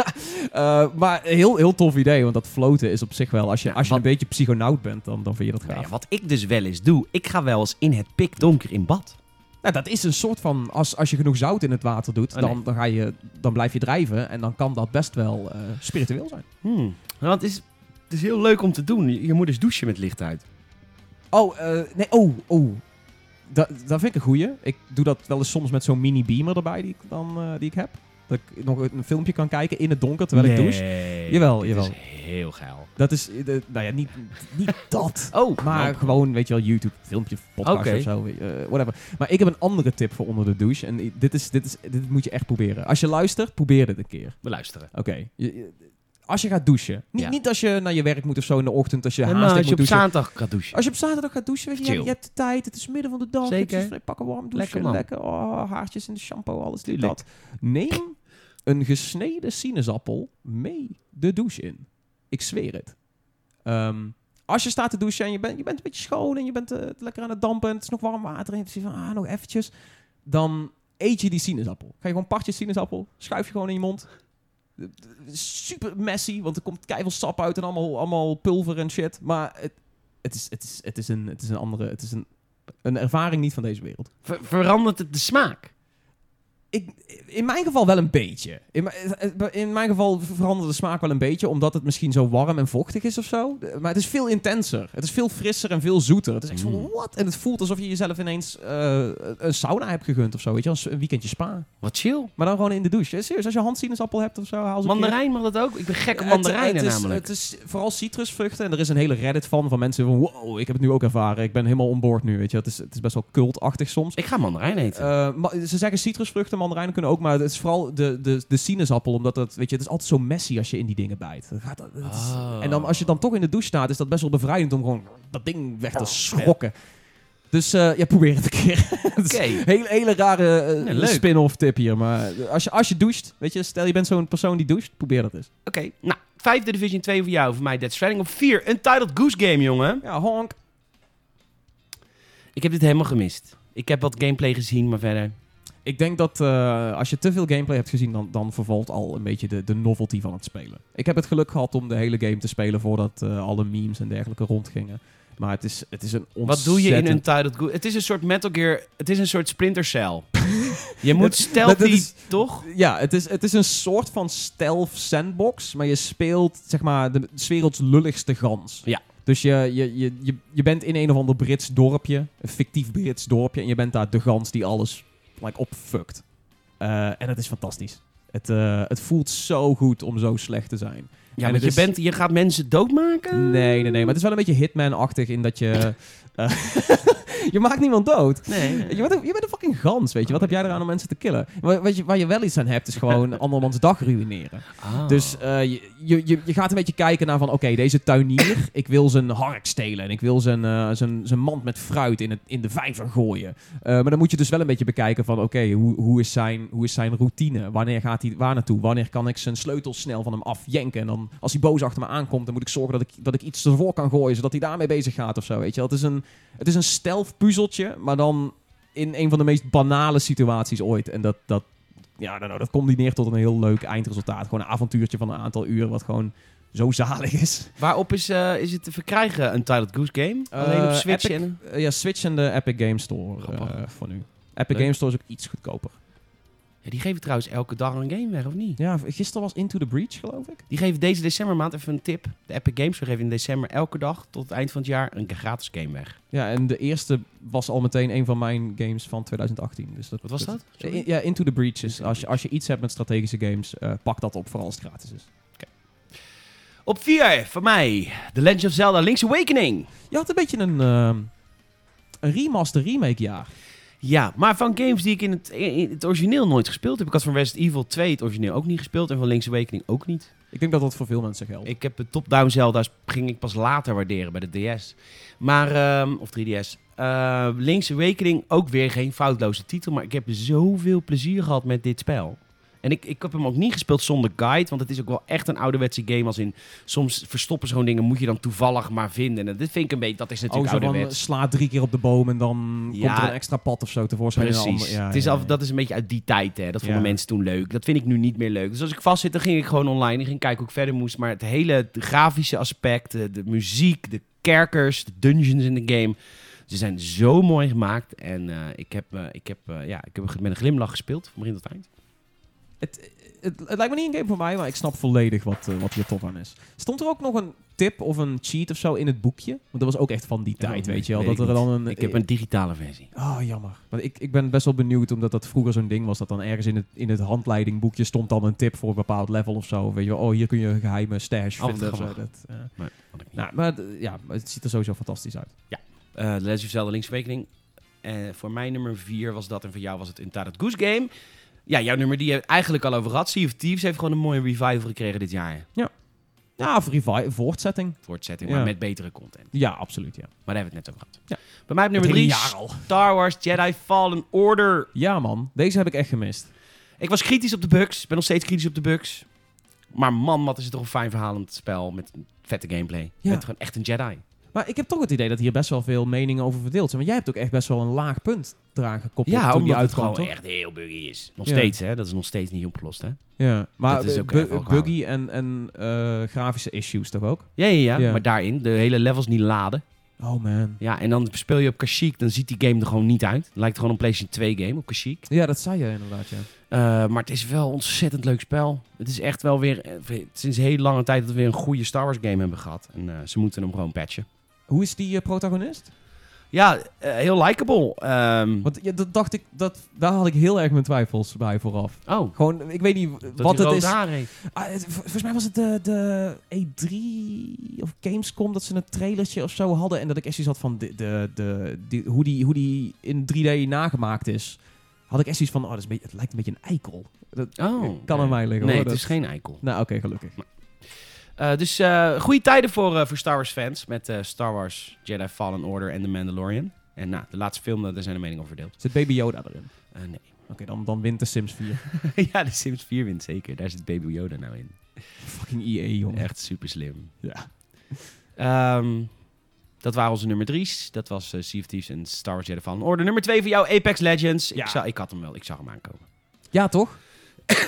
[SPEAKER 2] eh, maar heel, heel tof idee. Want dat floten is op zich wel. Als je, als je
[SPEAKER 1] wat-
[SPEAKER 2] een beetje psychonaut bent, dan, dan vind je dat
[SPEAKER 1] Nou
[SPEAKER 2] gaaf.
[SPEAKER 1] ja, wat ik dus wel eens doe, ik ga wel eens in het pikdonker in bad.
[SPEAKER 2] Nou, dat is een soort van, als, als je genoeg zout in het water doet,
[SPEAKER 1] Oh,
[SPEAKER 2] dan,
[SPEAKER 1] nee.
[SPEAKER 2] dan, ga je, dan blijf je drijven. En dan kan dat best wel eh, spiritueel zijn.
[SPEAKER 1] Hmm. Nou, het, is, het is heel leuk om te doen. Je, je moet dus douchen met licht uit.
[SPEAKER 2] Oh, eh, nee, oh, oh. Dat, dat vind ik een goeie. Ik doe dat wel eens soms met zo'n mini beamer erbij die ik, dan, eh, die ik heb. Dat ik nog een filmpje kan kijken in het donker terwijl ik douche. Jawel,
[SPEAKER 1] dit
[SPEAKER 2] jawel.
[SPEAKER 1] is heel geil.
[SPEAKER 2] Dat is, eh, de- nou ja, niet, niet dat.
[SPEAKER 1] Oh,
[SPEAKER 2] Maar
[SPEAKER 1] nou,
[SPEAKER 2] gewoon, weet je wel, YouTube, filmpje, podcast
[SPEAKER 1] Oké.
[SPEAKER 2] of zo, eh, whatever. Maar ik heb een andere tip voor onder de douche. En i- dit, is, dit, is, dit moet je echt proberen. Als je luistert, probeer dit een keer.
[SPEAKER 1] we luisteren.
[SPEAKER 2] Oké. Je- je- Als je gaat douchen. Niet,
[SPEAKER 1] Ja.
[SPEAKER 2] niet als je naar je werk moet of zo in de ochtend, als je
[SPEAKER 1] En
[SPEAKER 2] haast
[SPEAKER 1] nou,
[SPEAKER 2] hebt,
[SPEAKER 1] als je
[SPEAKER 2] moet
[SPEAKER 1] op
[SPEAKER 2] douchen.
[SPEAKER 1] zaterdag gaat douchen.
[SPEAKER 2] Als je op zaterdag gaat douchen, weet je, je, hebt,
[SPEAKER 1] Chill.
[SPEAKER 2] je hebt de tijd. Het is midden van de dag.
[SPEAKER 1] Zeker.
[SPEAKER 2] Het is vrij pakken warm douchen.
[SPEAKER 1] Lekker,
[SPEAKER 2] Lekker,
[SPEAKER 1] man.
[SPEAKER 2] oh, haartjes in de shampoo, alles dit,
[SPEAKER 1] Tuurlijk.
[SPEAKER 2] dat. Neem een gesneden sinaasappel mee de douche in. Ik zweer het. Ehm, als je staat te douchen en je bent, je bent een beetje schoon en je bent eh, lekker aan het dampen en het is nog warm water en je hebt zoiets van, ah, nog eventjes. Dan eet je die sinaasappel. Ga je gewoon partjes sinaasappel, schuif je gewoon in je mond. Super messy, want er komt keihard sap uit en allemaal, allemaal pulver en shit. Maar het, het, is, het, is, het, is een, het is een andere, het is een, een ervaring niet van deze wereld.
[SPEAKER 1] Ver- verandert het de smaak?
[SPEAKER 2] Ik, in mijn geval wel een beetje. In, mijn- in mijn geval verandert de smaak wel een beetje, omdat het misschien zo warm en vochtig is of zo. Maar het is veel intenser. Het is veel frisser en veel zoeter. Het is echt
[SPEAKER 1] Mm.
[SPEAKER 2] van wat? En het voelt alsof je jezelf ineens eh, een sauna hebt gegund of zo. Weet je, als een weekendje spa.
[SPEAKER 1] Wat chill.
[SPEAKER 2] Maar dan gewoon in de douche. Ja, serieus, als je handsinaasappel hebt of zo, haal ze een keer-
[SPEAKER 1] Mandarijn mag dat ook? Ik ben gek op
[SPEAKER 2] Het-
[SPEAKER 1] mandarijnen
[SPEAKER 2] het is,
[SPEAKER 1] namelijk.
[SPEAKER 2] Het is vooral citrusvruchten. En er is een hele Reddit van van mensen van... Wow, ik heb het nu ook ervaren. Ik ben helemaal onboord nu, weet je. Het is, het is best wel cultachtig soms.
[SPEAKER 1] Ik ga mandarijn eten.
[SPEAKER 2] Eh, ma- ze zeggen citrusvruchten, mandarijnen kunnen ook, maar het is vooral de, de, de sinaasappel, omdat dat, weet je, het is altijd zo messy als je in die dingen bijt. Dat gaat, dat is-
[SPEAKER 1] Oh.
[SPEAKER 2] En dan, als je dan toch in de douche staat, is dat best wel bevrijdend om gewoon dat ding weg te schrokken. Dus eh, ja, probeer het een keer. Het is
[SPEAKER 1] Oké.
[SPEAKER 2] een hele, hele rare eh,
[SPEAKER 1] Ja, leuk.
[SPEAKER 2] spin-off tip hier, maar als je, als je doucht, weet je, stel je bent zo'n persoon die doucht, probeer dat eens.
[SPEAKER 1] Oké, nou, vijfde Division 2 voor jou, voor mij Dead Stranding. Op vier, Untitled Goose Game, jongen.
[SPEAKER 2] Ja, honk.
[SPEAKER 1] Ik heb dit helemaal gemist. Ik heb wat gameplay gezien, maar verder...
[SPEAKER 2] Ik denk dat eh, als je te veel gameplay hebt gezien, dan, dan vervalt al een beetje de, de novelty van het spelen. Ik heb het geluk gehad om de hele game te spelen voordat eh, alle memes en dergelijke rondgingen. Maar het is, het is een ontzettend...
[SPEAKER 1] Wat doe je in Untitled Goose... Het is een soort Metal Gear... Het is een soort Splinter Cell. je moet
[SPEAKER 2] Dat- dat-
[SPEAKER 1] stealthy,
[SPEAKER 2] dat is-
[SPEAKER 1] toch?
[SPEAKER 2] Ja, het is, het is een soort van stealth sandbox, maar je speelt zeg maar de 's werelds lulligste gans.
[SPEAKER 1] Ja.
[SPEAKER 2] Dus je, je, je, je, je bent in een of ander Brits dorpje, een fictief Brits dorpje, en je bent daar de gans die alles like, opfukt. Eh, en het is fantastisch. Het, eh, het voelt zo goed om zo slecht te zijn.
[SPEAKER 1] Ja,
[SPEAKER 2] En
[SPEAKER 1] want
[SPEAKER 2] het
[SPEAKER 1] je,
[SPEAKER 2] is-
[SPEAKER 1] bent, je gaat mensen doodmaken?
[SPEAKER 2] Nee, nee, nee. Maar het is wel een beetje Hitman-achtig in dat je... eh, je maakt niemand dood.
[SPEAKER 1] Nee.
[SPEAKER 2] Je bent, een, je bent een fucking gans, weet je. Wat heb jij eraan om mensen te killen? Wa- Wat je, waar je wel iets aan hebt, is gewoon andermans dag ruïneren.
[SPEAKER 1] Ah.
[SPEAKER 2] Dus eh, je, je, je- je gaat een beetje kijken naar van... Oké, deze tuinier, ik wil zijn hark stelen. En ik wil zijn, eh, zijn, zijn mand met fruit in, het, in de vijver gooien. Eh, maar dan moet je dus wel een beetje bekijken van... Oké, hoe, hoe, is zijn, hoe is zijn routine? Wanneer gaat hij waar naartoe? Wanneer kan ik zijn sleutels snel van hem afjenken? En dan, als hij boos achter me aankomt... dan moet ik zorgen dat ik, dat ik iets ervoor kan gooien... zodat hij daarmee bezig gaat of zo, weet je wel. Het is een, het is een stealth puzzeltje, maar dan in een van de meest banale situaties ooit. En dat, dat, ja, nou, nou, dat combineert tot een heel leuk eindresultaat. Gewoon een avontuurtje van een aantal uren, wat gewoon zo zalig is.
[SPEAKER 1] Waarop is, eh, is het te verkrijgen, Untitled Goose Game? Alleen op
[SPEAKER 2] Eh,
[SPEAKER 1] Switch
[SPEAKER 2] Epic-
[SPEAKER 1] en...
[SPEAKER 2] Eh, ja, Switch en de Epic Game Store
[SPEAKER 1] Grappig.
[SPEAKER 2] eh, voor nu. Epic
[SPEAKER 1] Leuk.
[SPEAKER 2] Game Store is ook iets goedkoper.
[SPEAKER 1] Ja, die geven trouwens elke dag een game weg, of niet?
[SPEAKER 2] Ja, gisteren was Into the Breach, geloof ik.
[SPEAKER 1] Die geven deze decembermaand even een tip. De Epic Games Store geven in december elke dag tot het eind van het jaar een gratis game weg.
[SPEAKER 2] Ja, en de eerste was al meteen een van mijn games van 2018. Dus dat,
[SPEAKER 1] Wat was dat?
[SPEAKER 2] Eh,
[SPEAKER 1] Sorry?
[SPEAKER 2] in- ja, Into the Breach.
[SPEAKER 1] Into
[SPEAKER 2] Is,
[SPEAKER 1] the
[SPEAKER 2] als, je, als je iets hebt met strategische games, eh, pak dat op, vooral als het gratis is.
[SPEAKER 1] Op 4 van mij, The Legend of Zelda Link's Awakening.
[SPEAKER 2] Je had een beetje een, ehm, een remaster remake jaar.
[SPEAKER 1] Ja, maar van games die ik in het, in het origineel nooit gespeeld heb. Ik had van Resident Evil 2 het origineel ook niet gespeeld en van Link's Awakening ook niet.
[SPEAKER 2] Ik denk dat dat voor veel mensen geldt.
[SPEAKER 1] Ik heb de top-down Zelda's ging ik pas later waarderen bij de DS. Maar, ehm, of 3DS. Eh, Link's Awakening ook weer geen foutloze titel, maar ik heb zoveel plezier gehad met dit spel. En ik, ik heb hem ook niet gespeeld zonder guide, want het is ook wel echt een ouderwetse game. Als in, soms verstoppen ze gewoon dingen, moet je dan toevallig maar vinden. En dit vind ik een beetje, dat is
[SPEAKER 2] Oh,
[SPEAKER 1] natuurlijk
[SPEAKER 2] zo van, eh,
[SPEAKER 1] ouderwets.
[SPEAKER 2] sla drie keer op de boom en dan
[SPEAKER 1] Ja,
[SPEAKER 2] komt er een extra pad of zo tevoorschijn. en een
[SPEAKER 1] Precies.
[SPEAKER 2] ander- ja,
[SPEAKER 1] het is
[SPEAKER 2] ja,
[SPEAKER 1] al,
[SPEAKER 2] ja.
[SPEAKER 1] Dat is een beetje uit die tijd. Hè. Dat vonden
[SPEAKER 2] Ja.
[SPEAKER 1] mensen toen leuk. Dat vind ik nu niet meer leuk. Dus als ik vast zit, dan ging ik gewoon online. en ging kijken hoe ik verder moest. Maar het hele grafische aspect, eh, de muziek, de kerkers, de dungeons in de game. Ze zijn zo mooi gemaakt. En eh, ik, heb, eh, ik, heb, eh, ja, ik heb met een glimlach gespeeld, van begin tot eind.
[SPEAKER 2] Het, het, het lijkt me niet een game voor mij, maar ik snap volledig wat, eh, wat hier tof aan is. Stond er ook nog een tip of een cheat of zo in het boekje? Want dat was ook echt van die
[SPEAKER 1] Ja,
[SPEAKER 2] tijd,
[SPEAKER 1] nee,
[SPEAKER 2] weet je wel.
[SPEAKER 1] weet
[SPEAKER 2] Dat
[SPEAKER 1] ik
[SPEAKER 2] er dan een,
[SPEAKER 1] Ik heb een digitale versie.
[SPEAKER 2] Oh, jammer. Want ik, ik ben best wel benieuwd, omdat dat vroeger zo'n ding was, dat dan ergens in het, in het handleidingboekje stond dan een tip voor een bepaald level of zo. Weet je wel, oh, hier kun je een geheime stash
[SPEAKER 1] Oh, wat
[SPEAKER 2] vinden of zo.
[SPEAKER 1] grappig.
[SPEAKER 2] Dat, eh.
[SPEAKER 1] Had ik niet.
[SPEAKER 2] nou, maar d- ja, maar het ziet er sowieso fantastisch uit.
[SPEAKER 1] Eh, The Legend of Zelda Link's Awakening. Eh, voor mij nummer 4 was dat en voor jou was het Untitled Goose Game. Ja, jouw nummer die je eigenlijk al over had. Sea of Thieves heeft gewoon een mooie revival gekregen dit jaar.
[SPEAKER 2] Ja, of revi- voortzetting.
[SPEAKER 1] Voortzetting,
[SPEAKER 2] Ja.
[SPEAKER 1] maar met betere content.
[SPEAKER 2] Ja, absoluut, ja.
[SPEAKER 1] Maar daar hebben we het net over gehad.
[SPEAKER 2] Ja.
[SPEAKER 1] Bij mij op nummer
[SPEAKER 2] Het
[SPEAKER 1] 3,
[SPEAKER 2] hele jaar al.
[SPEAKER 1] Star Wars Jedi Fallen Order.
[SPEAKER 2] Ja, man. Deze heb ik echt gemist.
[SPEAKER 1] Ik was kritisch op de bugs. Ik ben nog steeds kritisch op de bugs. Maar man, wat is het toch een fijn verhalend spel met vette gameplay.
[SPEAKER 2] Ja.
[SPEAKER 1] Je bent gewoon echt een Jedi.
[SPEAKER 2] Maar ik heb toch het idee dat hier best wel veel meningen over verdeeld zijn. Want jij hebt ook echt best wel een laag punt eraan gekoppeld
[SPEAKER 1] Ja,
[SPEAKER 2] toen die
[SPEAKER 1] omdat het
[SPEAKER 2] uitkwam,
[SPEAKER 1] gewoon
[SPEAKER 2] toch?
[SPEAKER 1] echt heel buggy is. Nog
[SPEAKER 2] Ja.
[SPEAKER 1] steeds, hè. Dat is nog steeds niet opgelost, hè.
[SPEAKER 2] Ja, maar
[SPEAKER 1] Dat is
[SPEAKER 2] eh,
[SPEAKER 1] ook
[SPEAKER 2] bu-
[SPEAKER 1] echt wel kwalijk.
[SPEAKER 2] buggy en, en eh, grafische issues toch ook?
[SPEAKER 1] Ja, ja, ja,
[SPEAKER 2] Ja.
[SPEAKER 1] Maar daarin, de hele levels niet laden.
[SPEAKER 2] Oh, man.
[SPEAKER 1] Ja, en dan speel je op Kashyyyk, dan ziet die game er gewoon niet uit. Lijkt gewoon een PlayStation 2 game op Kashyyyk.
[SPEAKER 2] Ja, dat zei je inderdaad, ja.
[SPEAKER 1] Eh, maar het is wel een ontzettend leuk spel. Het is echt wel weer, eh, sinds heel lange tijd dat we weer een goede Star Wars game hebben gehad. En eh, ze moeten hem gewoon patchen.
[SPEAKER 2] Hoe is die eh, protagonist?
[SPEAKER 1] Ja, eh, heel likable. Ehm,
[SPEAKER 2] Want ja, dat dacht ik, dat, daar had ik heel erg mijn twijfels bij vooraf.
[SPEAKER 1] oh,
[SPEAKER 2] Gewoon, ik weet niet
[SPEAKER 1] dat
[SPEAKER 2] wat
[SPEAKER 1] hij
[SPEAKER 2] het
[SPEAKER 1] rood
[SPEAKER 2] is.
[SPEAKER 1] haar heeft.
[SPEAKER 2] Ah, het- vol- volgens mij was het de, de E3 of Gamescom dat ze een trailertje of zo hadden. En dat ik echt zoiets had van de, de, de, die- hoe, die, hoe die in 3D nagemaakt is. Had ik echt zoiets van, oh, dat is een beetje, het lijkt een beetje een eikel. Dat
[SPEAKER 1] Oh,
[SPEAKER 2] kan aan
[SPEAKER 1] nee.
[SPEAKER 2] mij liggen
[SPEAKER 1] Nee,
[SPEAKER 2] hoor.
[SPEAKER 1] het
[SPEAKER 2] dat-
[SPEAKER 1] is geen eikel.
[SPEAKER 2] Nou, oké, gelukkig.
[SPEAKER 1] Eh, dus eh goede tijden voor, eh, voor Star Wars fans. Met eh, Star Wars, Jedi Fallen Order en The Mandalorian. En nou, de laatste film, eh, daar zijn de meningen over verdeeld.
[SPEAKER 2] Zit Baby Yoda erin?
[SPEAKER 1] Eh, nee.
[SPEAKER 2] Oké, dan, dan wint de Sims 4.
[SPEAKER 1] ja, de Sims 4 wint zeker. Daar zit Baby Yoda nou in.
[SPEAKER 2] Fucking EA, jongen.
[SPEAKER 1] Echt super slim.
[SPEAKER 2] Ja.
[SPEAKER 1] Ehm, dat waren onze nummer drie's. Dat was eh Sea of Thieves en Star Wars Jedi Fallen Order. Nummer twee voor jou, Apex Legends.
[SPEAKER 2] Ja.
[SPEAKER 1] Ik, zag, ik had hem wel, ik zag hem aankomen.
[SPEAKER 2] Ja, toch?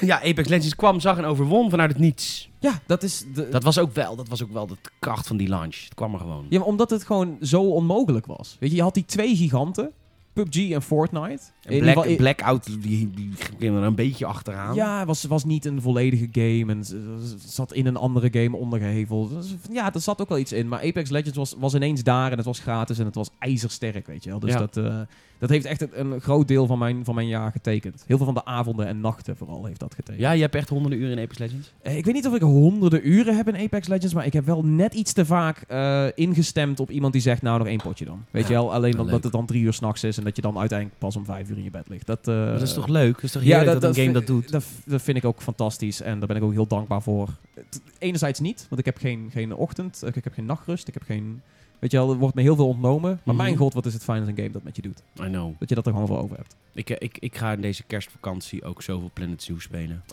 [SPEAKER 1] ja, Apex Legends kwam, zag en overwon vanuit het niets.
[SPEAKER 2] Ja, dat is... De,
[SPEAKER 1] Dat was ook wel, dat was ook wel de kracht van die launch. Het kwam er gewoon.
[SPEAKER 2] Ja, maar omdat het gewoon zo onmogelijk was. Weet je, je had die twee giganten, PUBG en Fortnite.
[SPEAKER 1] En
[SPEAKER 2] In ieder
[SPEAKER 1] Black,
[SPEAKER 2] geval-
[SPEAKER 1] Blackout, die, die ging er een beetje achteraan.
[SPEAKER 2] ja, het was, was niet een volledige game en ze- ze zat in een andere game ondergeheveld. Dus Ja, er zat ook wel iets in, maar Apex Legends was, was ineens daar en het was gratis en het was ijzersterk, weet je wel. Dus
[SPEAKER 1] Ja.
[SPEAKER 2] dat, eh, dat heeft echt een, een groot deel van mijn, van mijn jaar getekend. Heel veel van de avonden en nachten vooral heeft dat getekend.
[SPEAKER 1] ja, je hebt echt honderden uren in Apex Legends.
[SPEAKER 2] Eh, Ik weet niet of ik honderden uren heb in Apex Legends, maar ik heb wel net iets te vaak eh, ingestemd op iemand die zegt, nou nog één potje dan. Weet je wel, alleen
[SPEAKER 1] wel
[SPEAKER 2] dat,
[SPEAKER 1] leuk.
[SPEAKER 2] dat het dan drie uur s'nachts is en dat je dan uiteindelijk pas om vijf uur in je bed ligt. Dat, eh,
[SPEAKER 1] dat is toch leuk? Dat is toch heerlijk dat, een game
[SPEAKER 2] vind-
[SPEAKER 1] dat doet?
[SPEAKER 2] Dat, dat vind ik ook fantastisch en daar ben ik ook heel dankbaar voor. Het- Enerzijds niet, want ik heb geen, geen ochtend, eh, ik heb geen nachtrust, ik heb geen... Weet je wel, er wordt me heel veel ontnomen. Maar
[SPEAKER 1] Mhm.
[SPEAKER 2] mijn god, wat is het fijn als een game dat met je doet.
[SPEAKER 1] I know.
[SPEAKER 2] Dat je dat er gewoon voor over hebt.
[SPEAKER 1] Ik, eh, ik, ik ga in deze kerstvakantie ook zoveel Planet Zoo spelen.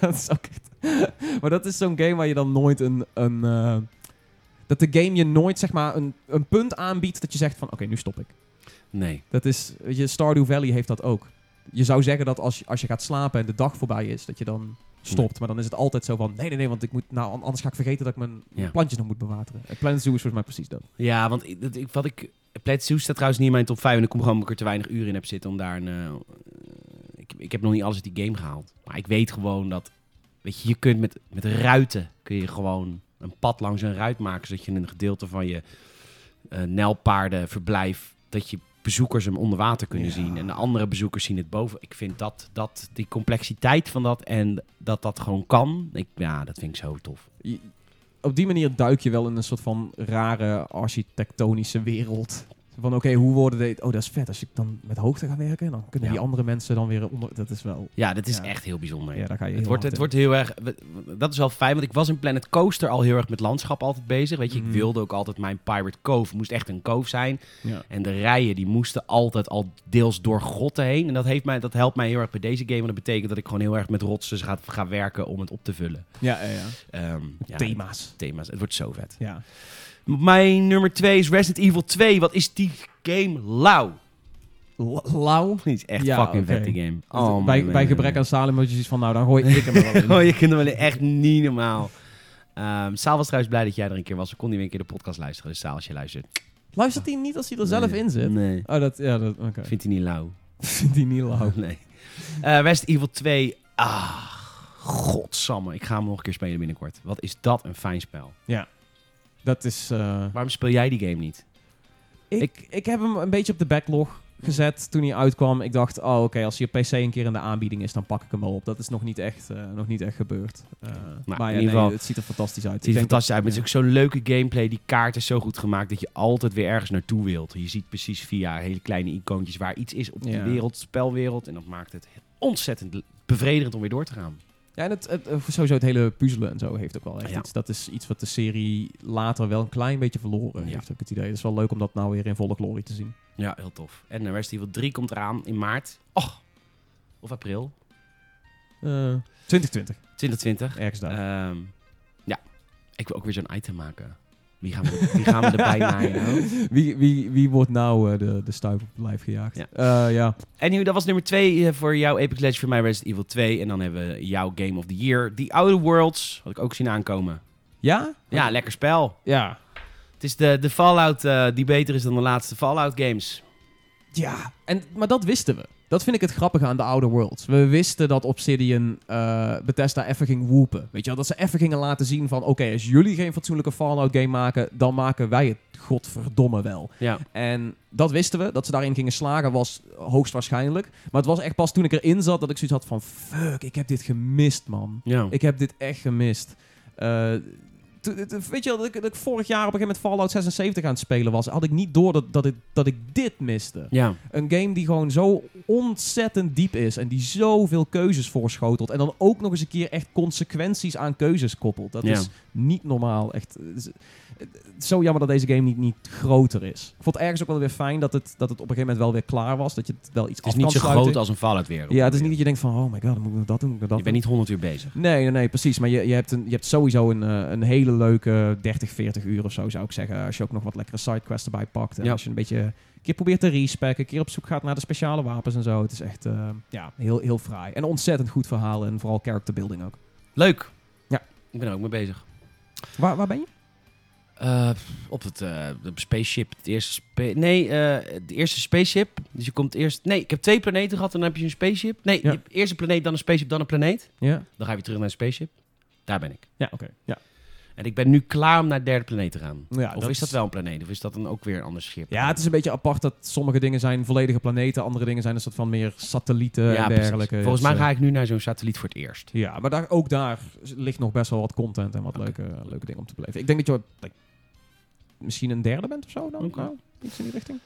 [SPEAKER 2] dat is ook echt- maar dat is zo'n game waar je dan nooit een... een eh, dat de game je nooit zeg maar, een, een punt aanbiedt dat je zegt van oké, nu stop ik.
[SPEAKER 1] Nee.
[SPEAKER 2] Dat is, weet je, Stardew Valley heeft dat ook. Je zou zeggen dat als, je- als je gaat slapen en de dag voorbij is, dat je dan stopt. Maar dan is het altijd zo van, nee, nee, nee, want ik moet, nou, an- anders ga ik vergeten dat ik mijn
[SPEAKER 1] Ja.
[SPEAKER 2] plantjes nog moet bewateren. En Planet Zoo is volgens mij precies dat.
[SPEAKER 1] Ja, want ik, dat, ik, wat ik... Planet Zoo staat trouwens niet in mijn top 5 en ik kom gewoon omdat ik er te weinig uren in heb zitten om daar een... eh, eh, ik, ik heb nog niet alles uit die game gehaald. Maar ik weet gewoon dat... Weet je, je kunt met, met ruiten kun je gewoon een pad langs een ruit maken. Zodat je een gedeelte van je eh nijlpaardenverblijf... Dat je bezoekers hem onder water kunnen
[SPEAKER 2] Ja.
[SPEAKER 1] zien. En de andere bezoekers zien het boven. Ik vind dat, dat die complexiteit van dat en dat dat gewoon kan. Ik, ja, dat vind ik zo tof.
[SPEAKER 2] Je- op die manier duik je wel in een soort van rare architectonische wereld. Van oké, hoe worden dit? Oh, dat is vet. Als ik dan met hoogte ga werken, dan kunnen
[SPEAKER 1] Ja.
[SPEAKER 2] die andere mensen dan weer onder. Dat is wel.
[SPEAKER 1] Ja, dat is
[SPEAKER 2] Ja.
[SPEAKER 1] echt heel bijzonder.
[SPEAKER 2] Ja, daar ga je.
[SPEAKER 1] Het
[SPEAKER 2] heel
[SPEAKER 1] wordt,
[SPEAKER 2] hard
[SPEAKER 1] het
[SPEAKER 2] in.
[SPEAKER 1] wordt heel erg. we- we- Dat is wel fijn, want ik was in Planet Coaster al heel erg met landschap altijd bezig. Weet je,
[SPEAKER 2] Mhm.
[SPEAKER 1] ik wilde ook altijd mijn Pirate Cove. Moest echt een cove zijn.
[SPEAKER 2] Ja.
[SPEAKER 1] En de rijen die moesten altijd al deels door grotten heen. En dat, heeft mij, dat helpt mij heel erg bij deze game. Want dat betekent dat ik gewoon heel erg met rotsen ga, ga werken om het op te vullen.
[SPEAKER 2] Ja, ja, ja.
[SPEAKER 1] Ehm, ja,
[SPEAKER 2] Thema's.
[SPEAKER 1] Thema's. Het wordt zo vet.
[SPEAKER 2] Ja.
[SPEAKER 1] Mijn nummer 2 is Resident Evil 2. Wat is die game lauw?
[SPEAKER 2] La- Lauw.
[SPEAKER 1] Het is echt
[SPEAKER 2] Ja,
[SPEAKER 1] fucking
[SPEAKER 2] oké.
[SPEAKER 1] vet, die game. Oh,
[SPEAKER 2] bij,
[SPEAKER 1] man,
[SPEAKER 2] bij
[SPEAKER 1] man,
[SPEAKER 2] gebrek
[SPEAKER 1] man.
[SPEAKER 2] aan Salem had je zoiets van, nou dan gooi ik hem er wel in.
[SPEAKER 1] Oh, je kunt hem alleen echt niet normaal. Ehm Saal was trouwens blij dat jij er een keer was. We konden weer een keer de podcast luisteren. Dus Saal, als je luistert,
[SPEAKER 2] Luistert hij niet als hij er zelf
[SPEAKER 1] Nee.
[SPEAKER 2] in zit?
[SPEAKER 1] Nee,
[SPEAKER 2] Oh, dat... Ja, dat... Oké.
[SPEAKER 1] vindt hij niet lauw.
[SPEAKER 2] Vindt hij niet lauw.
[SPEAKER 1] Nee. Eh Resident Evil 2. Ah, godsamme. Ik ga hem nog een keer spelen binnenkort. Wat is dat een fijn spel.
[SPEAKER 2] Dat is... eh,
[SPEAKER 1] Waarom speel jij die game niet?
[SPEAKER 2] ik, ik heb hem een beetje op de backlog gezet toen hij uitkwam. Ik dacht, oh oké, als je PC een keer in de aanbieding is, dan pak ik hem wel op. Dat is nog niet echt, eh, nog niet echt gebeurd. Eh, maar ja,
[SPEAKER 1] Nou, in
[SPEAKER 2] nee,
[SPEAKER 1] ieder geval-
[SPEAKER 2] het ziet er fantastisch uit.
[SPEAKER 1] Het ziet er
[SPEAKER 2] Ik denk dat-
[SPEAKER 1] fantastisch uit. Maar het is ook zo'n leuke gameplay. Die kaart is zo goed gemaakt dat je altijd weer ergens naartoe wilt. Je ziet precies via hele kleine icoontjes waar iets is op
[SPEAKER 2] Ja.
[SPEAKER 1] de wereld, spelwereld. En dat maakt het ontzettend le- bevredigend om weer door te gaan.
[SPEAKER 2] Ja, en het, het, eh, sowieso het hele puzzelen en zo heeft ook wel echt
[SPEAKER 1] Ja.
[SPEAKER 2] iets. Dat is iets wat de serie later wel een klein beetje verloren
[SPEAKER 1] Ja.
[SPEAKER 2] heeft, ook het idee. Het is wel leuk om dat nou weer in volle glorie te zien.
[SPEAKER 1] Ja, heel tof. En eh, Resident Evil 3 komt eraan in maart. Oh, of april
[SPEAKER 2] Eh, 2020,
[SPEAKER 1] 2020.
[SPEAKER 2] ergens daar.
[SPEAKER 1] Ehm, ja, ik wil ook weer zo'n item maken. Wie gaan we, wie gaan we erbij naaien? nou?
[SPEAKER 2] wie, wie, wie wordt nou eh, de, de stuip op het lijf gejaagd?
[SPEAKER 1] Ja.
[SPEAKER 2] Eh, ja.
[SPEAKER 1] Anywho, dat was nummer 2 voor jou Epic Legends, voor mij Resident Evil 2. En dan hebben we jouw Game of the Year. The Outer Worlds, had ik ook zien aankomen.
[SPEAKER 2] Ja?
[SPEAKER 1] Ja, lekker spel.
[SPEAKER 2] Ja.
[SPEAKER 1] Het is de, de Fallout eh, die beter is dan de laatste Fallout games.
[SPEAKER 2] Ja. En, maar dat wisten we. Dat vind ik het grappige aan de Outer Worlds. We wisten dat Obsidian eh Bethesda even ging woepen. Weet je wel, dat ze even gingen laten zien van... Oké, als jullie geen fatsoenlijke Fallout game maken... dan maken wij het godverdomme wel.
[SPEAKER 1] Ja,
[SPEAKER 2] En dat wisten we, dat ze daarin gingen slagen was hoogstwaarschijnlijk. Maar het was echt pas toen ik erin zat dat ik zoiets had van... Fuck, ik heb dit gemist, man.
[SPEAKER 1] ja.
[SPEAKER 2] Ik heb dit echt gemist. Eh, to- to- weet je wel, dat ik, dat ik vorig jaar op een gegeven moment Fallout 76 aan het spelen was... had ik niet door dat, dat, ik, dat ik dit miste.
[SPEAKER 1] ja.
[SPEAKER 2] Een game die gewoon zo ontzettend diep is... en die zoveel keuzes voorschotelt... en dan ook nog eens een keer echt consequenties aan keuzes koppelt. Dat
[SPEAKER 1] Ja.
[SPEAKER 2] is niet normaal. Echt, eh, z- eh, zo jammer dat deze game niet, niet groter is. Ik vond het ergens ook wel weer fijn dat het, dat het op een gegeven moment wel weer klaar was. Dat je het wel iets
[SPEAKER 1] Het is
[SPEAKER 2] af
[SPEAKER 1] niet
[SPEAKER 2] kan
[SPEAKER 1] zo
[SPEAKER 2] sluiten.
[SPEAKER 1] groot als een Fallout wereld.
[SPEAKER 2] Ja, het is niet dat je denkt van... oh my god, dan moet ik nog dat doen, moet ik nog dat
[SPEAKER 1] Je bent niet 100 uur bezig.
[SPEAKER 2] Nee, nee, nee, precies. Maar je, je, hebt, een, je hebt sowieso een, eh, een hele leuke 30, 40 uur of zo, zou ik zeggen. Als je ook nog wat lekkere sidequests erbij pakt. En
[SPEAKER 1] Ja.
[SPEAKER 2] als je een beetje een keer probeert te respecken, een keer op zoek gaat naar de speciale wapens en zo. Het is echt eh, ja, heel, heel fraai. En een ontzettend goed verhaal en vooral character building ook.
[SPEAKER 1] Leuk.
[SPEAKER 2] Ja.
[SPEAKER 1] Ik ben er ook mee bezig.
[SPEAKER 2] Waar, waar ben je?
[SPEAKER 1] Eh, op het eh, de spaceship. Het eerste spa- nee, eh, de eerste spaceship. Dus je komt eerst... Nee, ik heb twee planeten gehad en dan heb je een spaceship. Nee,
[SPEAKER 2] Ja.
[SPEAKER 1] je hebt eerst een planeet, dan een spaceship, dan een planeet.
[SPEAKER 2] Ja,
[SPEAKER 1] Dan ga je weer terug naar een spaceship. Daar ben ik.
[SPEAKER 2] ja oké. Ja. Nou
[SPEAKER 1] En ik ben nu klaar om naar de derde planeet te gaan.
[SPEAKER 2] Ja,
[SPEAKER 1] of
[SPEAKER 2] dat
[SPEAKER 1] is dat
[SPEAKER 2] is-
[SPEAKER 1] wel een planeet? Of is dat dan ook weer een ander schip?
[SPEAKER 2] ja, het is een beetje apart dat sommige dingen zijn volledige planeten, andere dingen zijn een soort van meer satellieten
[SPEAKER 1] Ja,
[SPEAKER 2] en
[SPEAKER 1] precies.
[SPEAKER 2] dergelijke.
[SPEAKER 1] Volgens mij
[SPEAKER 2] Dus, eh,
[SPEAKER 1] ga ik nu naar zo'n satelliet voor het eerst.
[SPEAKER 2] Ja, maar daar, ook daar ligt nog best wel wat content en wat
[SPEAKER 1] Oké.
[SPEAKER 2] leuke, leuke dingen om te beleven. Ik denk dat je dat je misschien een derde bent of zo dan.
[SPEAKER 1] Oké.
[SPEAKER 2] Nou, iets in die richting.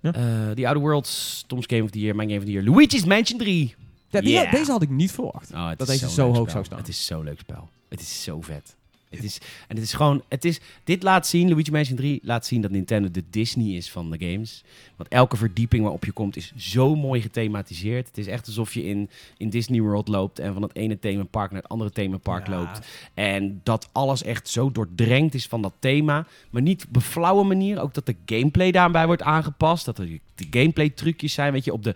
[SPEAKER 1] Eh The Outer Worlds, Tom's Game of the Year, mijn Game of the Year, Luigi's Mansion 3.
[SPEAKER 2] Ja, die-
[SPEAKER 1] Ja.
[SPEAKER 2] Deze had ik niet verwacht.
[SPEAKER 1] Oh, het
[SPEAKER 2] Dat
[SPEAKER 1] is
[SPEAKER 2] deze
[SPEAKER 1] zo'n
[SPEAKER 2] zo
[SPEAKER 1] leuk
[SPEAKER 2] hoog
[SPEAKER 1] spel.
[SPEAKER 2] zou staan.
[SPEAKER 1] Het is zo'n leuk spel. Het is zo vet. Het is, en het is gewoon, het is, dit laat zien, Luigi Mansion 3 laat zien dat Nintendo de Disney is van de games. Want elke verdieping waarop je komt is zo mooi gethematiseerd. Het is echt alsof je in, in Disney World loopt en van het ene themapark naar het andere themapark
[SPEAKER 2] Ja.
[SPEAKER 1] loopt. En dat alles echt zo doordrenkt is van dat thema. Maar niet op een flauwe manier. Ook dat de gameplay daarbij wordt aangepast. Dat er de gameplay trucjes zijn. Weet je, op de,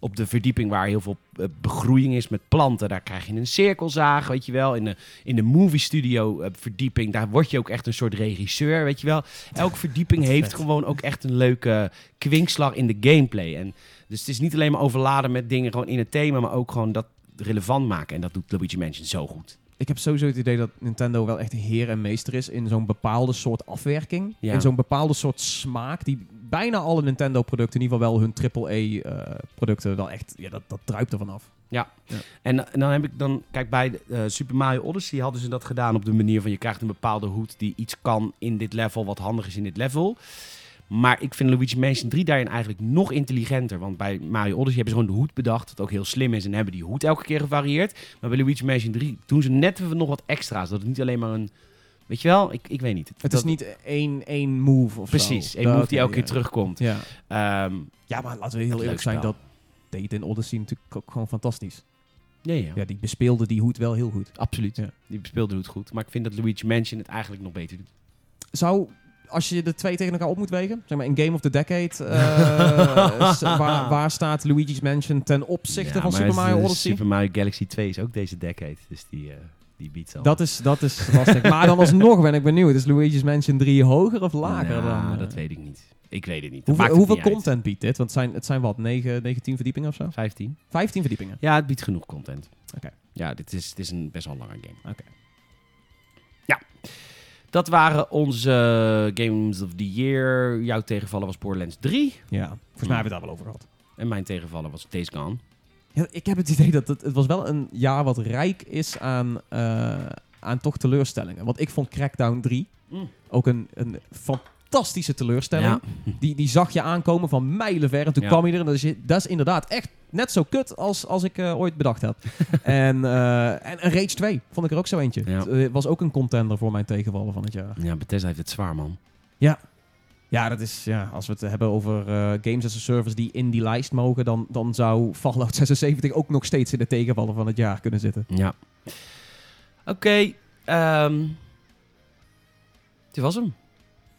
[SPEAKER 1] op de verdieping waar heel veel eh, begroeiing is met planten. Daar krijg je een cirkelzaag, weet je wel. In de, in de movie studio eh, verdieping. Daar word je ook echt een soort regisseur, weet je wel. Elke verdieping
[SPEAKER 2] Wat
[SPEAKER 1] heeft
[SPEAKER 2] vet.
[SPEAKER 1] gewoon ook echt een leuke kwinkslag in de gameplay. En dus het is niet alleen maar overladen met dingen gewoon in het thema. Maar ook gewoon dat relevant maken. En dat doet Luigi Mansion zo goed.
[SPEAKER 2] Ik heb sowieso het idee dat Nintendo wel echt heer en meester is in zo'n bepaalde soort afwerking.
[SPEAKER 1] Ja.
[SPEAKER 2] In zo'n bepaalde soort smaak die bijna alle Nintendo-producten, in ieder geval wel hun AAA-producten, wel echt, ja, dat, dat druipt er vanaf.
[SPEAKER 1] En, en dan heb ik dan, kijk, bij eh, Super Mario Odyssey hadden ze dat gedaan op de manier van je krijgt een bepaalde hoed die iets kan in dit level, wat handig is in dit level. Maar ik vind Luigi Mansion 3 daarin eigenlijk nog intelligenter. Want bij Mario Odyssey hebben ze gewoon de hoed bedacht, dat ook heel slim is. En hebben die hoed elke keer gevarieerd. Maar bij Luigi Mansion 3 doen ze net even nog wat extra's. Dat het niet alleen maar een, weet je wel, ik, ik weet niet.
[SPEAKER 2] Het
[SPEAKER 1] Dat-
[SPEAKER 2] is niet één, één move of zo.
[SPEAKER 1] Precies, een
[SPEAKER 2] Dat-
[SPEAKER 1] move die elke
[SPEAKER 2] ja.
[SPEAKER 1] keer terugkomt.
[SPEAKER 2] Ja.
[SPEAKER 1] Ehm,
[SPEAKER 2] Ja, maar laten we heel
[SPEAKER 1] Leuk
[SPEAKER 2] eerlijk zijn,
[SPEAKER 1] spel.
[SPEAKER 2] dat deed in Odyssey natuurlijk ook gewoon fantastisch.
[SPEAKER 1] ja, ja.
[SPEAKER 2] Ja, die bespeelde die hoed wel heel goed.
[SPEAKER 1] Absoluut.
[SPEAKER 2] Ja.
[SPEAKER 1] Die speelde het goed. Maar ik vind dat Luigi Mansion het eigenlijk nog beter doet.
[SPEAKER 2] Zou, als je de twee tegen elkaar op moet wegen, zeg maar in Game of the Decade, eh, s- waar, waar staat Luigi's Mansion ten opzichte
[SPEAKER 1] Ja,
[SPEAKER 2] van
[SPEAKER 1] maar
[SPEAKER 2] Super
[SPEAKER 1] het-
[SPEAKER 2] Mario
[SPEAKER 1] het-
[SPEAKER 2] Odyssey?
[SPEAKER 1] Super Mario Galaxy 2 is ook deze decade, dus die, eh, die biedt al.
[SPEAKER 2] Dat is, dat is lastig. maar dan alsnog ben ik benieuwd, is Luigi's Mansion 3 hoger of lager
[SPEAKER 1] Nou,
[SPEAKER 2] dan? eh?
[SPEAKER 1] dat weet ik niet. Ik weet het niet. Dat
[SPEAKER 2] Hoeveel,
[SPEAKER 1] maakt het
[SPEAKER 2] hoeveel
[SPEAKER 1] niet uit.
[SPEAKER 2] content biedt dit? Want het zijn, het zijn wat, 9, 19 verdiepingen of zo?
[SPEAKER 1] 15?
[SPEAKER 2] 15 verdiepingen.
[SPEAKER 1] Ja, het biedt genoeg content.
[SPEAKER 2] Oké.
[SPEAKER 1] Ja, dit is, dit is een best wel lange game.
[SPEAKER 2] Oké.
[SPEAKER 1] Ja. Dat waren onze eh, Games of the Year. Jouw tegenvaller was Borderlands 3.
[SPEAKER 2] Ja, volgens mij hebben we het daar wel over gehad.
[SPEAKER 1] En mijn tegenvaller was Days Gone.
[SPEAKER 2] Ja, ik heb het idee dat het, het was wel een jaar wat rijk is aan, eh, aan toch teleurstellingen. Want ik vond Crackdown 3
[SPEAKER 1] Mm.
[SPEAKER 2] ook een, een fantastische teleurstelling.
[SPEAKER 1] Ja.
[SPEAKER 2] Die, die zag je aankomen van mijlenver. En toen
[SPEAKER 1] Ja.
[SPEAKER 2] kwam je er. En dat is, dat is inderdaad echt net zo kut als, als ik eh, ooit bedacht heb. en, eh, en, en Rage 2 vond ik er ook zo eentje.
[SPEAKER 1] Ja.
[SPEAKER 2] Het eh, was ook een contender voor mijn tegenvallen van het jaar.
[SPEAKER 1] ja, Bethesda heeft het zwaar, man.
[SPEAKER 2] Ja, dat is, ja als we het hebben over eh, games as a service die in die lijst mogen... Dan, dan zou Fallout 76 ook nog steeds in de tegenvallen van het jaar kunnen zitten.
[SPEAKER 1] Ja. Oké. ehm, dit was hem.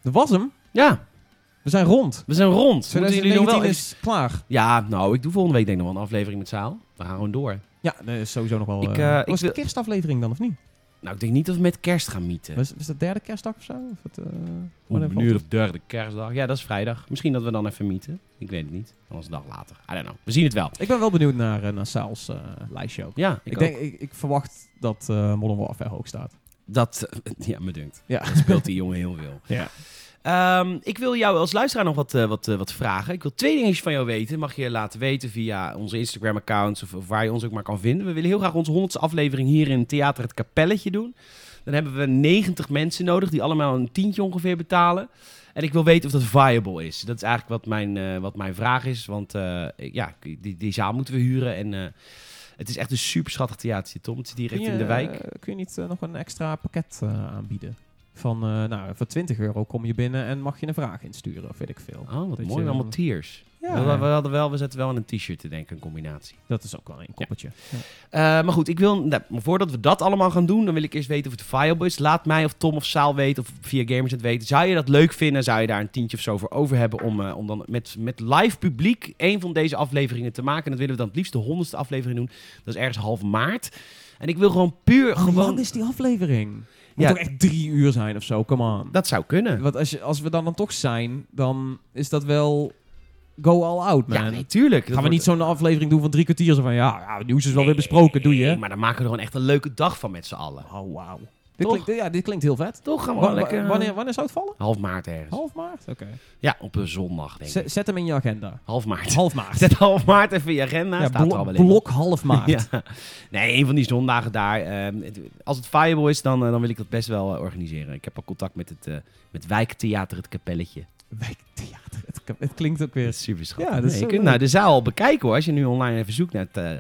[SPEAKER 2] Dat was hem.
[SPEAKER 1] Ja,
[SPEAKER 2] We zijn rond.
[SPEAKER 1] we zijn rond. Moeten jullie nog wel
[SPEAKER 2] 2019 is klaar.
[SPEAKER 1] Ja, nou, ik doe volgende week denk ik nog wel een aflevering met Zaal. We gaan gewoon door.
[SPEAKER 2] Ja, dat is sowieso nog wel...
[SPEAKER 1] Ik,
[SPEAKER 2] Ik,
[SPEAKER 1] eh, ik
[SPEAKER 2] was het
[SPEAKER 1] wil-
[SPEAKER 2] de kerstaflevering dan, of niet?
[SPEAKER 1] Nou, ik denk niet dat we met kerst gaan mieten.
[SPEAKER 2] Was, was dat derde kerstdag of zo? Of het, eh,
[SPEAKER 1] Oeh,
[SPEAKER 2] wanneer
[SPEAKER 1] nu
[SPEAKER 2] valt
[SPEAKER 1] of derde kerstdag. Ja, dat is vrijdag. Misschien dat we dan even mieten. Ik weet het niet. Anders een dag later. I don't know. We zien het wel.
[SPEAKER 2] het? Ik ben wel benieuwd naar, eh, naar Saals eh, lijstje ook.
[SPEAKER 1] Ja, ik,
[SPEAKER 2] Ik, denk, ik, ik verwacht dat eh, Modern Warfare hoog staat. Dus
[SPEAKER 1] Dat, ja, me dunkt.
[SPEAKER 2] Ja.
[SPEAKER 1] Dat speelt die jongen heel veel.
[SPEAKER 2] Ja.
[SPEAKER 1] Ehm, ik wil jou als luisteraar nog wat, eh, wat, eh, wat vragen. Ik wil twee dingetjes van jou weten. Mag je laten weten via onze Instagram-accounts of, of waar je ons ook maar kan vinden. We willen heel graag onze honderdste aflevering hier in Theater Het Kapelletje doen. Dan hebben we 90 mensen nodig die allemaal een tientje ongeveer betalen. En ik wil weten of dat viable is. Dat is eigenlijk wat mijn, eh, wat mijn vraag is. Want eh, ja, die, die zaal moeten we huren. En eh, het is echt een super schattig theater, Tom. Het zit hier echt
[SPEAKER 2] je,
[SPEAKER 1] in de wijk.
[SPEAKER 2] eh, kun je niet eh, nog een extra pakket eh, aanbieden? Van, eh, nou, voor 20 euro kom je binnen en mag je een vraag insturen, of weet ik veel.
[SPEAKER 1] Oh, wat
[SPEAKER 2] Dat
[SPEAKER 1] mooi.
[SPEAKER 2] je-
[SPEAKER 1] Allemaal tiers.
[SPEAKER 2] Ja.
[SPEAKER 1] We, we hadden wel, we zetten wel in een t-shirt te denken, een combinatie.
[SPEAKER 2] Dat is ook wel een koppeltje. Ja.
[SPEAKER 1] Eh, maar goed, ik wil, nou, maar voordat we dat allemaal gaan doen, dan wil ik eerst weten of het viable is. Laat mij of Tom of Saal weten, of via Gamers het weten. Zou je dat leuk vinden? Zou je daar een tientje of zo voor over hebben om, eh, om dan met, met live publiek één van deze afleveringen te maken? En dat willen we dan het liefst de honderdste aflevering doen. Dat is ergens half maart. En ik wil gewoon puur
[SPEAKER 2] Hoe
[SPEAKER 1] gewoon...
[SPEAKER 2] lang Oh, is die aflevering? Moet
[SPEAKER 1] Ja.
[SPEAKER 2] toch echt drie uur zijn of zo? Come on.
[SPEAKER 1] Dat zou kunnen.
[SPEAKER 2] Want als, je, als we dan dan toch zijn, dan is dat wel go all out, man.
[SPEAKER 1] Ja, eh, natuurlijk.
[SPEAKER 2] Gaan we niet zo'n aflevering doen van drie kwartier? Zo van, ja, ja het nieuws is wel weer besproken, doe je?
[SPEAKER 1] maar dan maken we er gewoon echt een leuke dag van met z'n allen.
[SPEAKER 2] Oh, wauw. Dit,
[SPEAKER 1] Toch?
[SPEAKER 2] klinkt, ja, dit klinkt heel vet.
[SPEAKER 1] Toch gaan we
[SPEAKER 2] Wa-
[SPEAKER 1] wel
[SPEAKER 2] wa-
[SPEAKER 1] lekker... eh,
[SPEAKER 2] wanneer, wanneer zou het vallen?
[SPEAKER 1] Half maart ergens.
[SPEAKER 2] Half maart? Oké.
[SPEAKER 1] Ja, op een zondag denk ik.
[SPEAKER 2] Zet, zet hem in je agenda.
[SPEAKER 1] Half maart.
[SPEAKER 2] Half maart.
[SPEAKER 1] Zet half maart even in je agenda.
[SPEAKER 2] ja,
[SPEAKER 1] staat
[SPEAKER 2] blo-
[SPEAKER 1] er al wel in.
[SPEAKER 2] blok half maart.
[SPEAKER 1] Ja. Nee, een van die zondagen daar. ehm, het- als het viable is, dan, eh, dan wil ik dat best wel eh, organiseren. Ik heb al contact met het eh, met wijktheater, het kapelletje.
[SPEAKER 2] Wijktheater. Het, k- het klinkt ook
[SPEAKER 1] Dat
[SPEAKER 2] weer...
[SPEAKER 1] is super schattig.
[SPEAKER 2] Ja, dat is
[SPEAKER 1] Nee,
[SPEAKER 2] zo
[SPEAKER 1] je kunt
[SPEAKER 2] leuk.
[SPEAKER 1] nou de zaal al bekijken hoor, als je nu online even zoekt naar het... eh,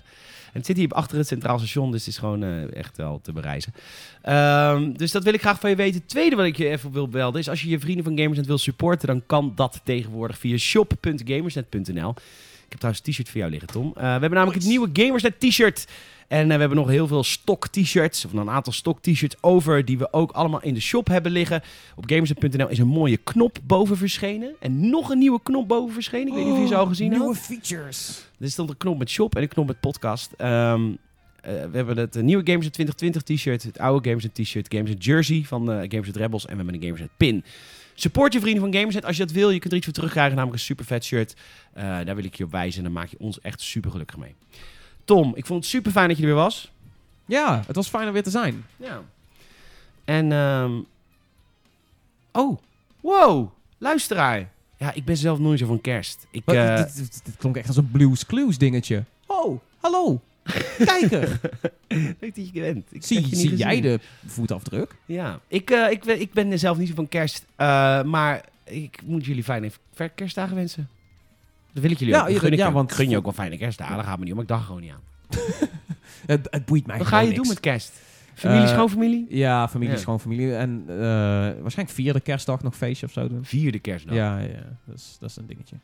[SPEAKER 1] en het zit hier achter het Centraal Station, dus het is gewoon eh, echt wel te bereizen. Ehm, dus dat wil ik graag van je weten. Het tweede wat ik je even wil belden is... als je je vrienden van Gamersnet wil supporten... dan kan dat tegenwoordig via shop.gamersnet.nl. Ik heb trouwens een t-shirt voor jou liggen, Tom. Eh, we hebben namelijk het nieuwe Gamersnet t-shirt. En eh, we hebben nog heel veel stok t-shirts, of een aantal stok t-shirts over... die we ook allemaal in de shop hebben liggen. Op gamersnet.nl is een mooie knop boven verschenen. En nog een nieuwe knop boven verschenen. Ik weet niet of je ze al gezien hebt.
[SPEAKER 2] Oh, Nieuwe features.
[SPEAKER 1] Er stond een knop met shop en een knop met podcast. Ehm, eh, we hebben het eh, nieuwe Games 2020 t-shirt, het oude Games t-shirt, Games Jersey van eh Games Rebels en we hebben een Games pin. Support je vrienden van Gamersnet als je dat wil. Je kunt er iets voor terugkrijgen, namelijk een super vet shirt. Eh, daar wil ik je op wijzen en dan maak je ons echt super gelukkig mee. Tom, ik vond het super fijn dat je er weer was.
[SPEAKER 2] Ja, het was fijn om weer te zijn.
[SPEAKER 1] Ja. En, ehm, oh, wow, luisteraar. Ja, ik ben zelf nooit zo van kerst. Ik,
[SPEAKER 2] Wat,
[SPEAKER 1] eh,
[SPEAKER 2] dit, dit- dit klonk echt als een Blues Clues dingetje. Oh, hallo. Kijker,
[SPEAKER 1] leuk dat je er bent. Ik heb je
[SPEAKER 2] zie,
[SPEAKER 1] niet
[SPEAKER 2] zie jij
[SPEAKER 1] gezien.
[SPEAKER 2] de voetafdruk?
[SPEAKER 1] Ja, ik, eh, ik, ben- ik ben zelf niet zo van kerst. eh, maar ik moet jullie fijne ver- kerstdagen wensen. Dat wil ik jullie
[SPEAKER 2] Ja,
[SPEAKER 1] ook. Dat
[SPEAKER 2] ja,
[SPEAKER 1] Gun ik
[SPEAKER 2] ja,
[SPEAKER 1] je.
[SPEAKER 2] want-
[SPEAKER 1] gun je ook wel fijne kerstdagen. Dat gaat me niet om. Ik dacht gewoon niet aan.
[SPEAKER 2] Het, het boeit mij
[SPEAKER 1] Wat ga je
[SPEAKER 2] gewoon niks.
[SPEAKER 1] doen met kerst? Familie,
[SPEAKER 2] Eh,
[SPEAKER 1] schoonfamilie?
[SPEAKER 2] Ja, familie
[SPEAKER 1] Ja.
[SPEAKER 2] is gewoon familie. En eh, waarschijnlijk vierde kerstdag nog feestje of zo doen.
[SPEAKER 1] Vierde kerstdag.
[SPEAKER 2] Ja, ja. Dat is, dat is een dingetje.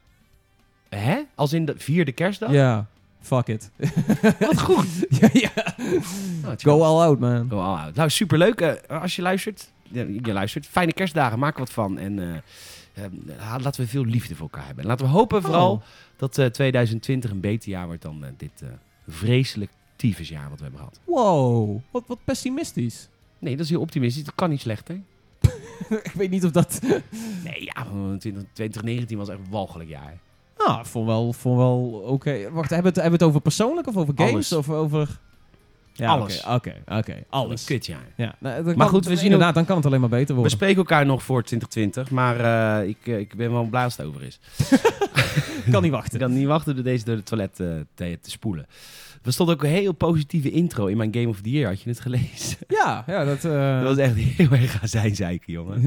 [SPEAKER 1] Hè? Als in de vierde kerstdag?
[SPEAKER 2] Ja, fuck it.
[SPEAKER 1] Wat goed.
[SPEAKER 2] ja, ja.
[SPEAKER 1] Nou, het is
[SPEAKER 2] Go
[SPEAKER 1] goed.
[SPEAKER 2] all out, man.
[SPEAKER 1] Go all out. Nou, superleuk. eh, als je luistert, ja, je luistert. Fijne kerstdagen. Maak er wat van. En eh, eh, ha- laten we veel liefde voor elkaar hebben. En Laten we hopen vooral
[SPEAKER 2] Oh.
[SPEAKER 1] dat eh, 2020 een beter jaar wordt dan eh, dit eh, vreselijk tyfusjaar wat we hebben gehad.
[SPEAKER 2] Wow, wat, wat pessimistisch.
[SPEAKER 1] Nee, dat is heel optimistisch. Dat kan niet slechter.
[SPEAKER 2] ik weet niet of dat...
[SPEAKER 1] Nee, ja, 20, 2019 was echt een walgelijk jaar.
[SPEAKER 2] Nou, vond wel, vond wel oké. Wacht, hebben we, het, hebben we het over persoonlijk of over games?
[SPEAKER 1] Alles.
[SPEAKER 2] Of over... Ja,
[SPEAKER 1] Alles.
[SPEAKER 2] Oké, oké, oké, alles.
[SPEAKER 1] Een kutjaar.
[SPEAKER 2] Ja, nou, dan
[SPEAKER 1] Maar
[SPEAKER 2] kan-
[SPEAKER 1] goed, we zien
[SPEAKER 2] inderdaad, dan kan het alleen maar beter
[SPEAKER 1] We
[SPEAKER 2] worden.
[SPEAKER 1] spreken elkaar nog voor 2020, maar eh, ik, eh, ik ben wel blij als het over is.
[SPEAKER 2] kan niet
[SPEAKER 1] Ik
[SPEAKER 2] wachten.
[SPEAKER 1] kan niet wachten door deze door het toilet eh, te, te spoelen. Er stond ook een heel positieve intro in mijn Game of the Year, had je het gelezen?
[SPEAKER 2] Ja, ja, dat... eh,
[SPEAKER 1] Dat was echt heel erg aan zijn zeiken, jongen.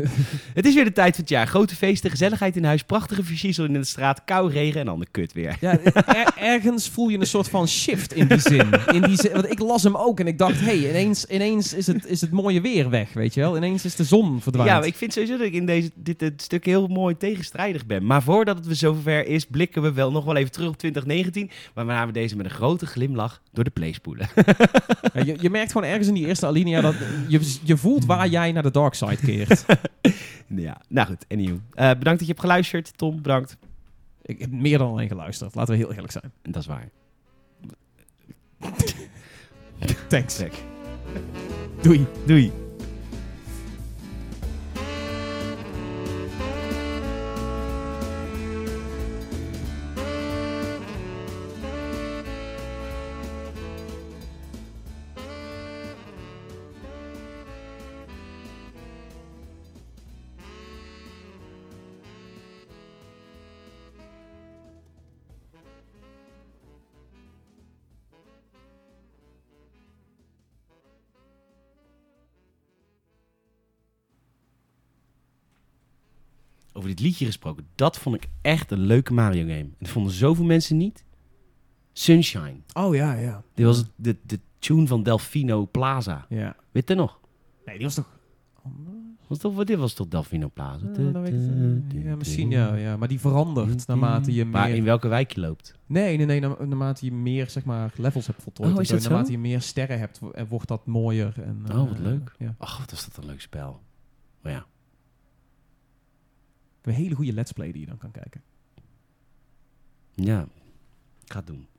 [SPEAKER 1] het is weer de tijd van het jaar. Grote feesten, gezelligheid in huis, prachtige versiezel in de straat, kou, regen en ander kut weer.
[SPEAKER 2] Ja, er- ergens voel je een soort van shift in die zin. In die zin want ik las hem ook en ik dacht, hé, hey, ineens, ineens is, het, is het mooie weer weg, weet je wel. Ineens is de zon verdwaald.
[SPEAKER 1] Ja, maar ik vind sowieso dat ik in deze, dit, dit stuk heel mooi tegenstrijdig ben. Maar voordat het weer zover is, blikken we wel nog wel even terug op 2019. Maar waarna we deze met een grote glimlach door de play spoelen.
[SPEAKER 2] Ja, je, je merkt gewoon ergens in die eerste alinea dat je, je voelt waar jij naar de dark side keert.
[SPEAKER 1] ja, nou goed, anyhow. Eh, bedankt dat je hebt geluisterd, Tom. Bedankt.
[SPEAKER 2] ik heb meer dan alleen geluisterd, laten we heel eerlijk zijn.
[SPEAKER 1] En dat is waar.
[SPEAKER 2] Thanks.
[SPEAKER 1] Trek.
[SPEAKER 2] Doei.
[SPEAKER 1] Doei. Over dit liedje gesproken, dat vond ik echt een leuke Mario game. En dat vonden zoveel mensen niet. Sunshine.
[SPEAKER 2] Oh ja, ja.
[SPEAKER 1] Dit was het- de, de tune van Delfino Plaza.
[SPEAKER 2] Ja.
[SPEAKER 1] Weet je nog?
[SPEAKER 2] Nee, die was toch...
[SPEAKER 1] Was toch, wat- dit was toch Delfino Plaza?
[SPEAKER 2] Ja, dan weet ik het. Ja, misschien ja, ja. Maar die verandert naarmate je
[SPEAKER 1] Maar
[SPEAKER 2] meer...
[SPEAKER 1] in welke wijk je loopt.
[SPEAKER 2] Nee, nee, nee. na- Naarmate je meer zeg maar, levels hebt voltooid.
[SPEAKER 1] Oh,
[SPEAKER 2] en
[SPEAKER 1] is
[SPEAKER 2] zo,
[SPEAKER 1] dat zo?
[SPEAKER 2] naarmate je meer sterren hebt, wo- eh, wordt dat mooier. En, eh,
[SPEAKER 1] Oh, wat leuk.
[SPEAKER 2] Ja.
[SPEAKER 1] Ach, wat is dat een leuk spel. Maar ja.
[SPEAKER 2] Een hele goede let's play die je dan kan kijken.
[SPEAKER 1] Ja, ik ga het doen.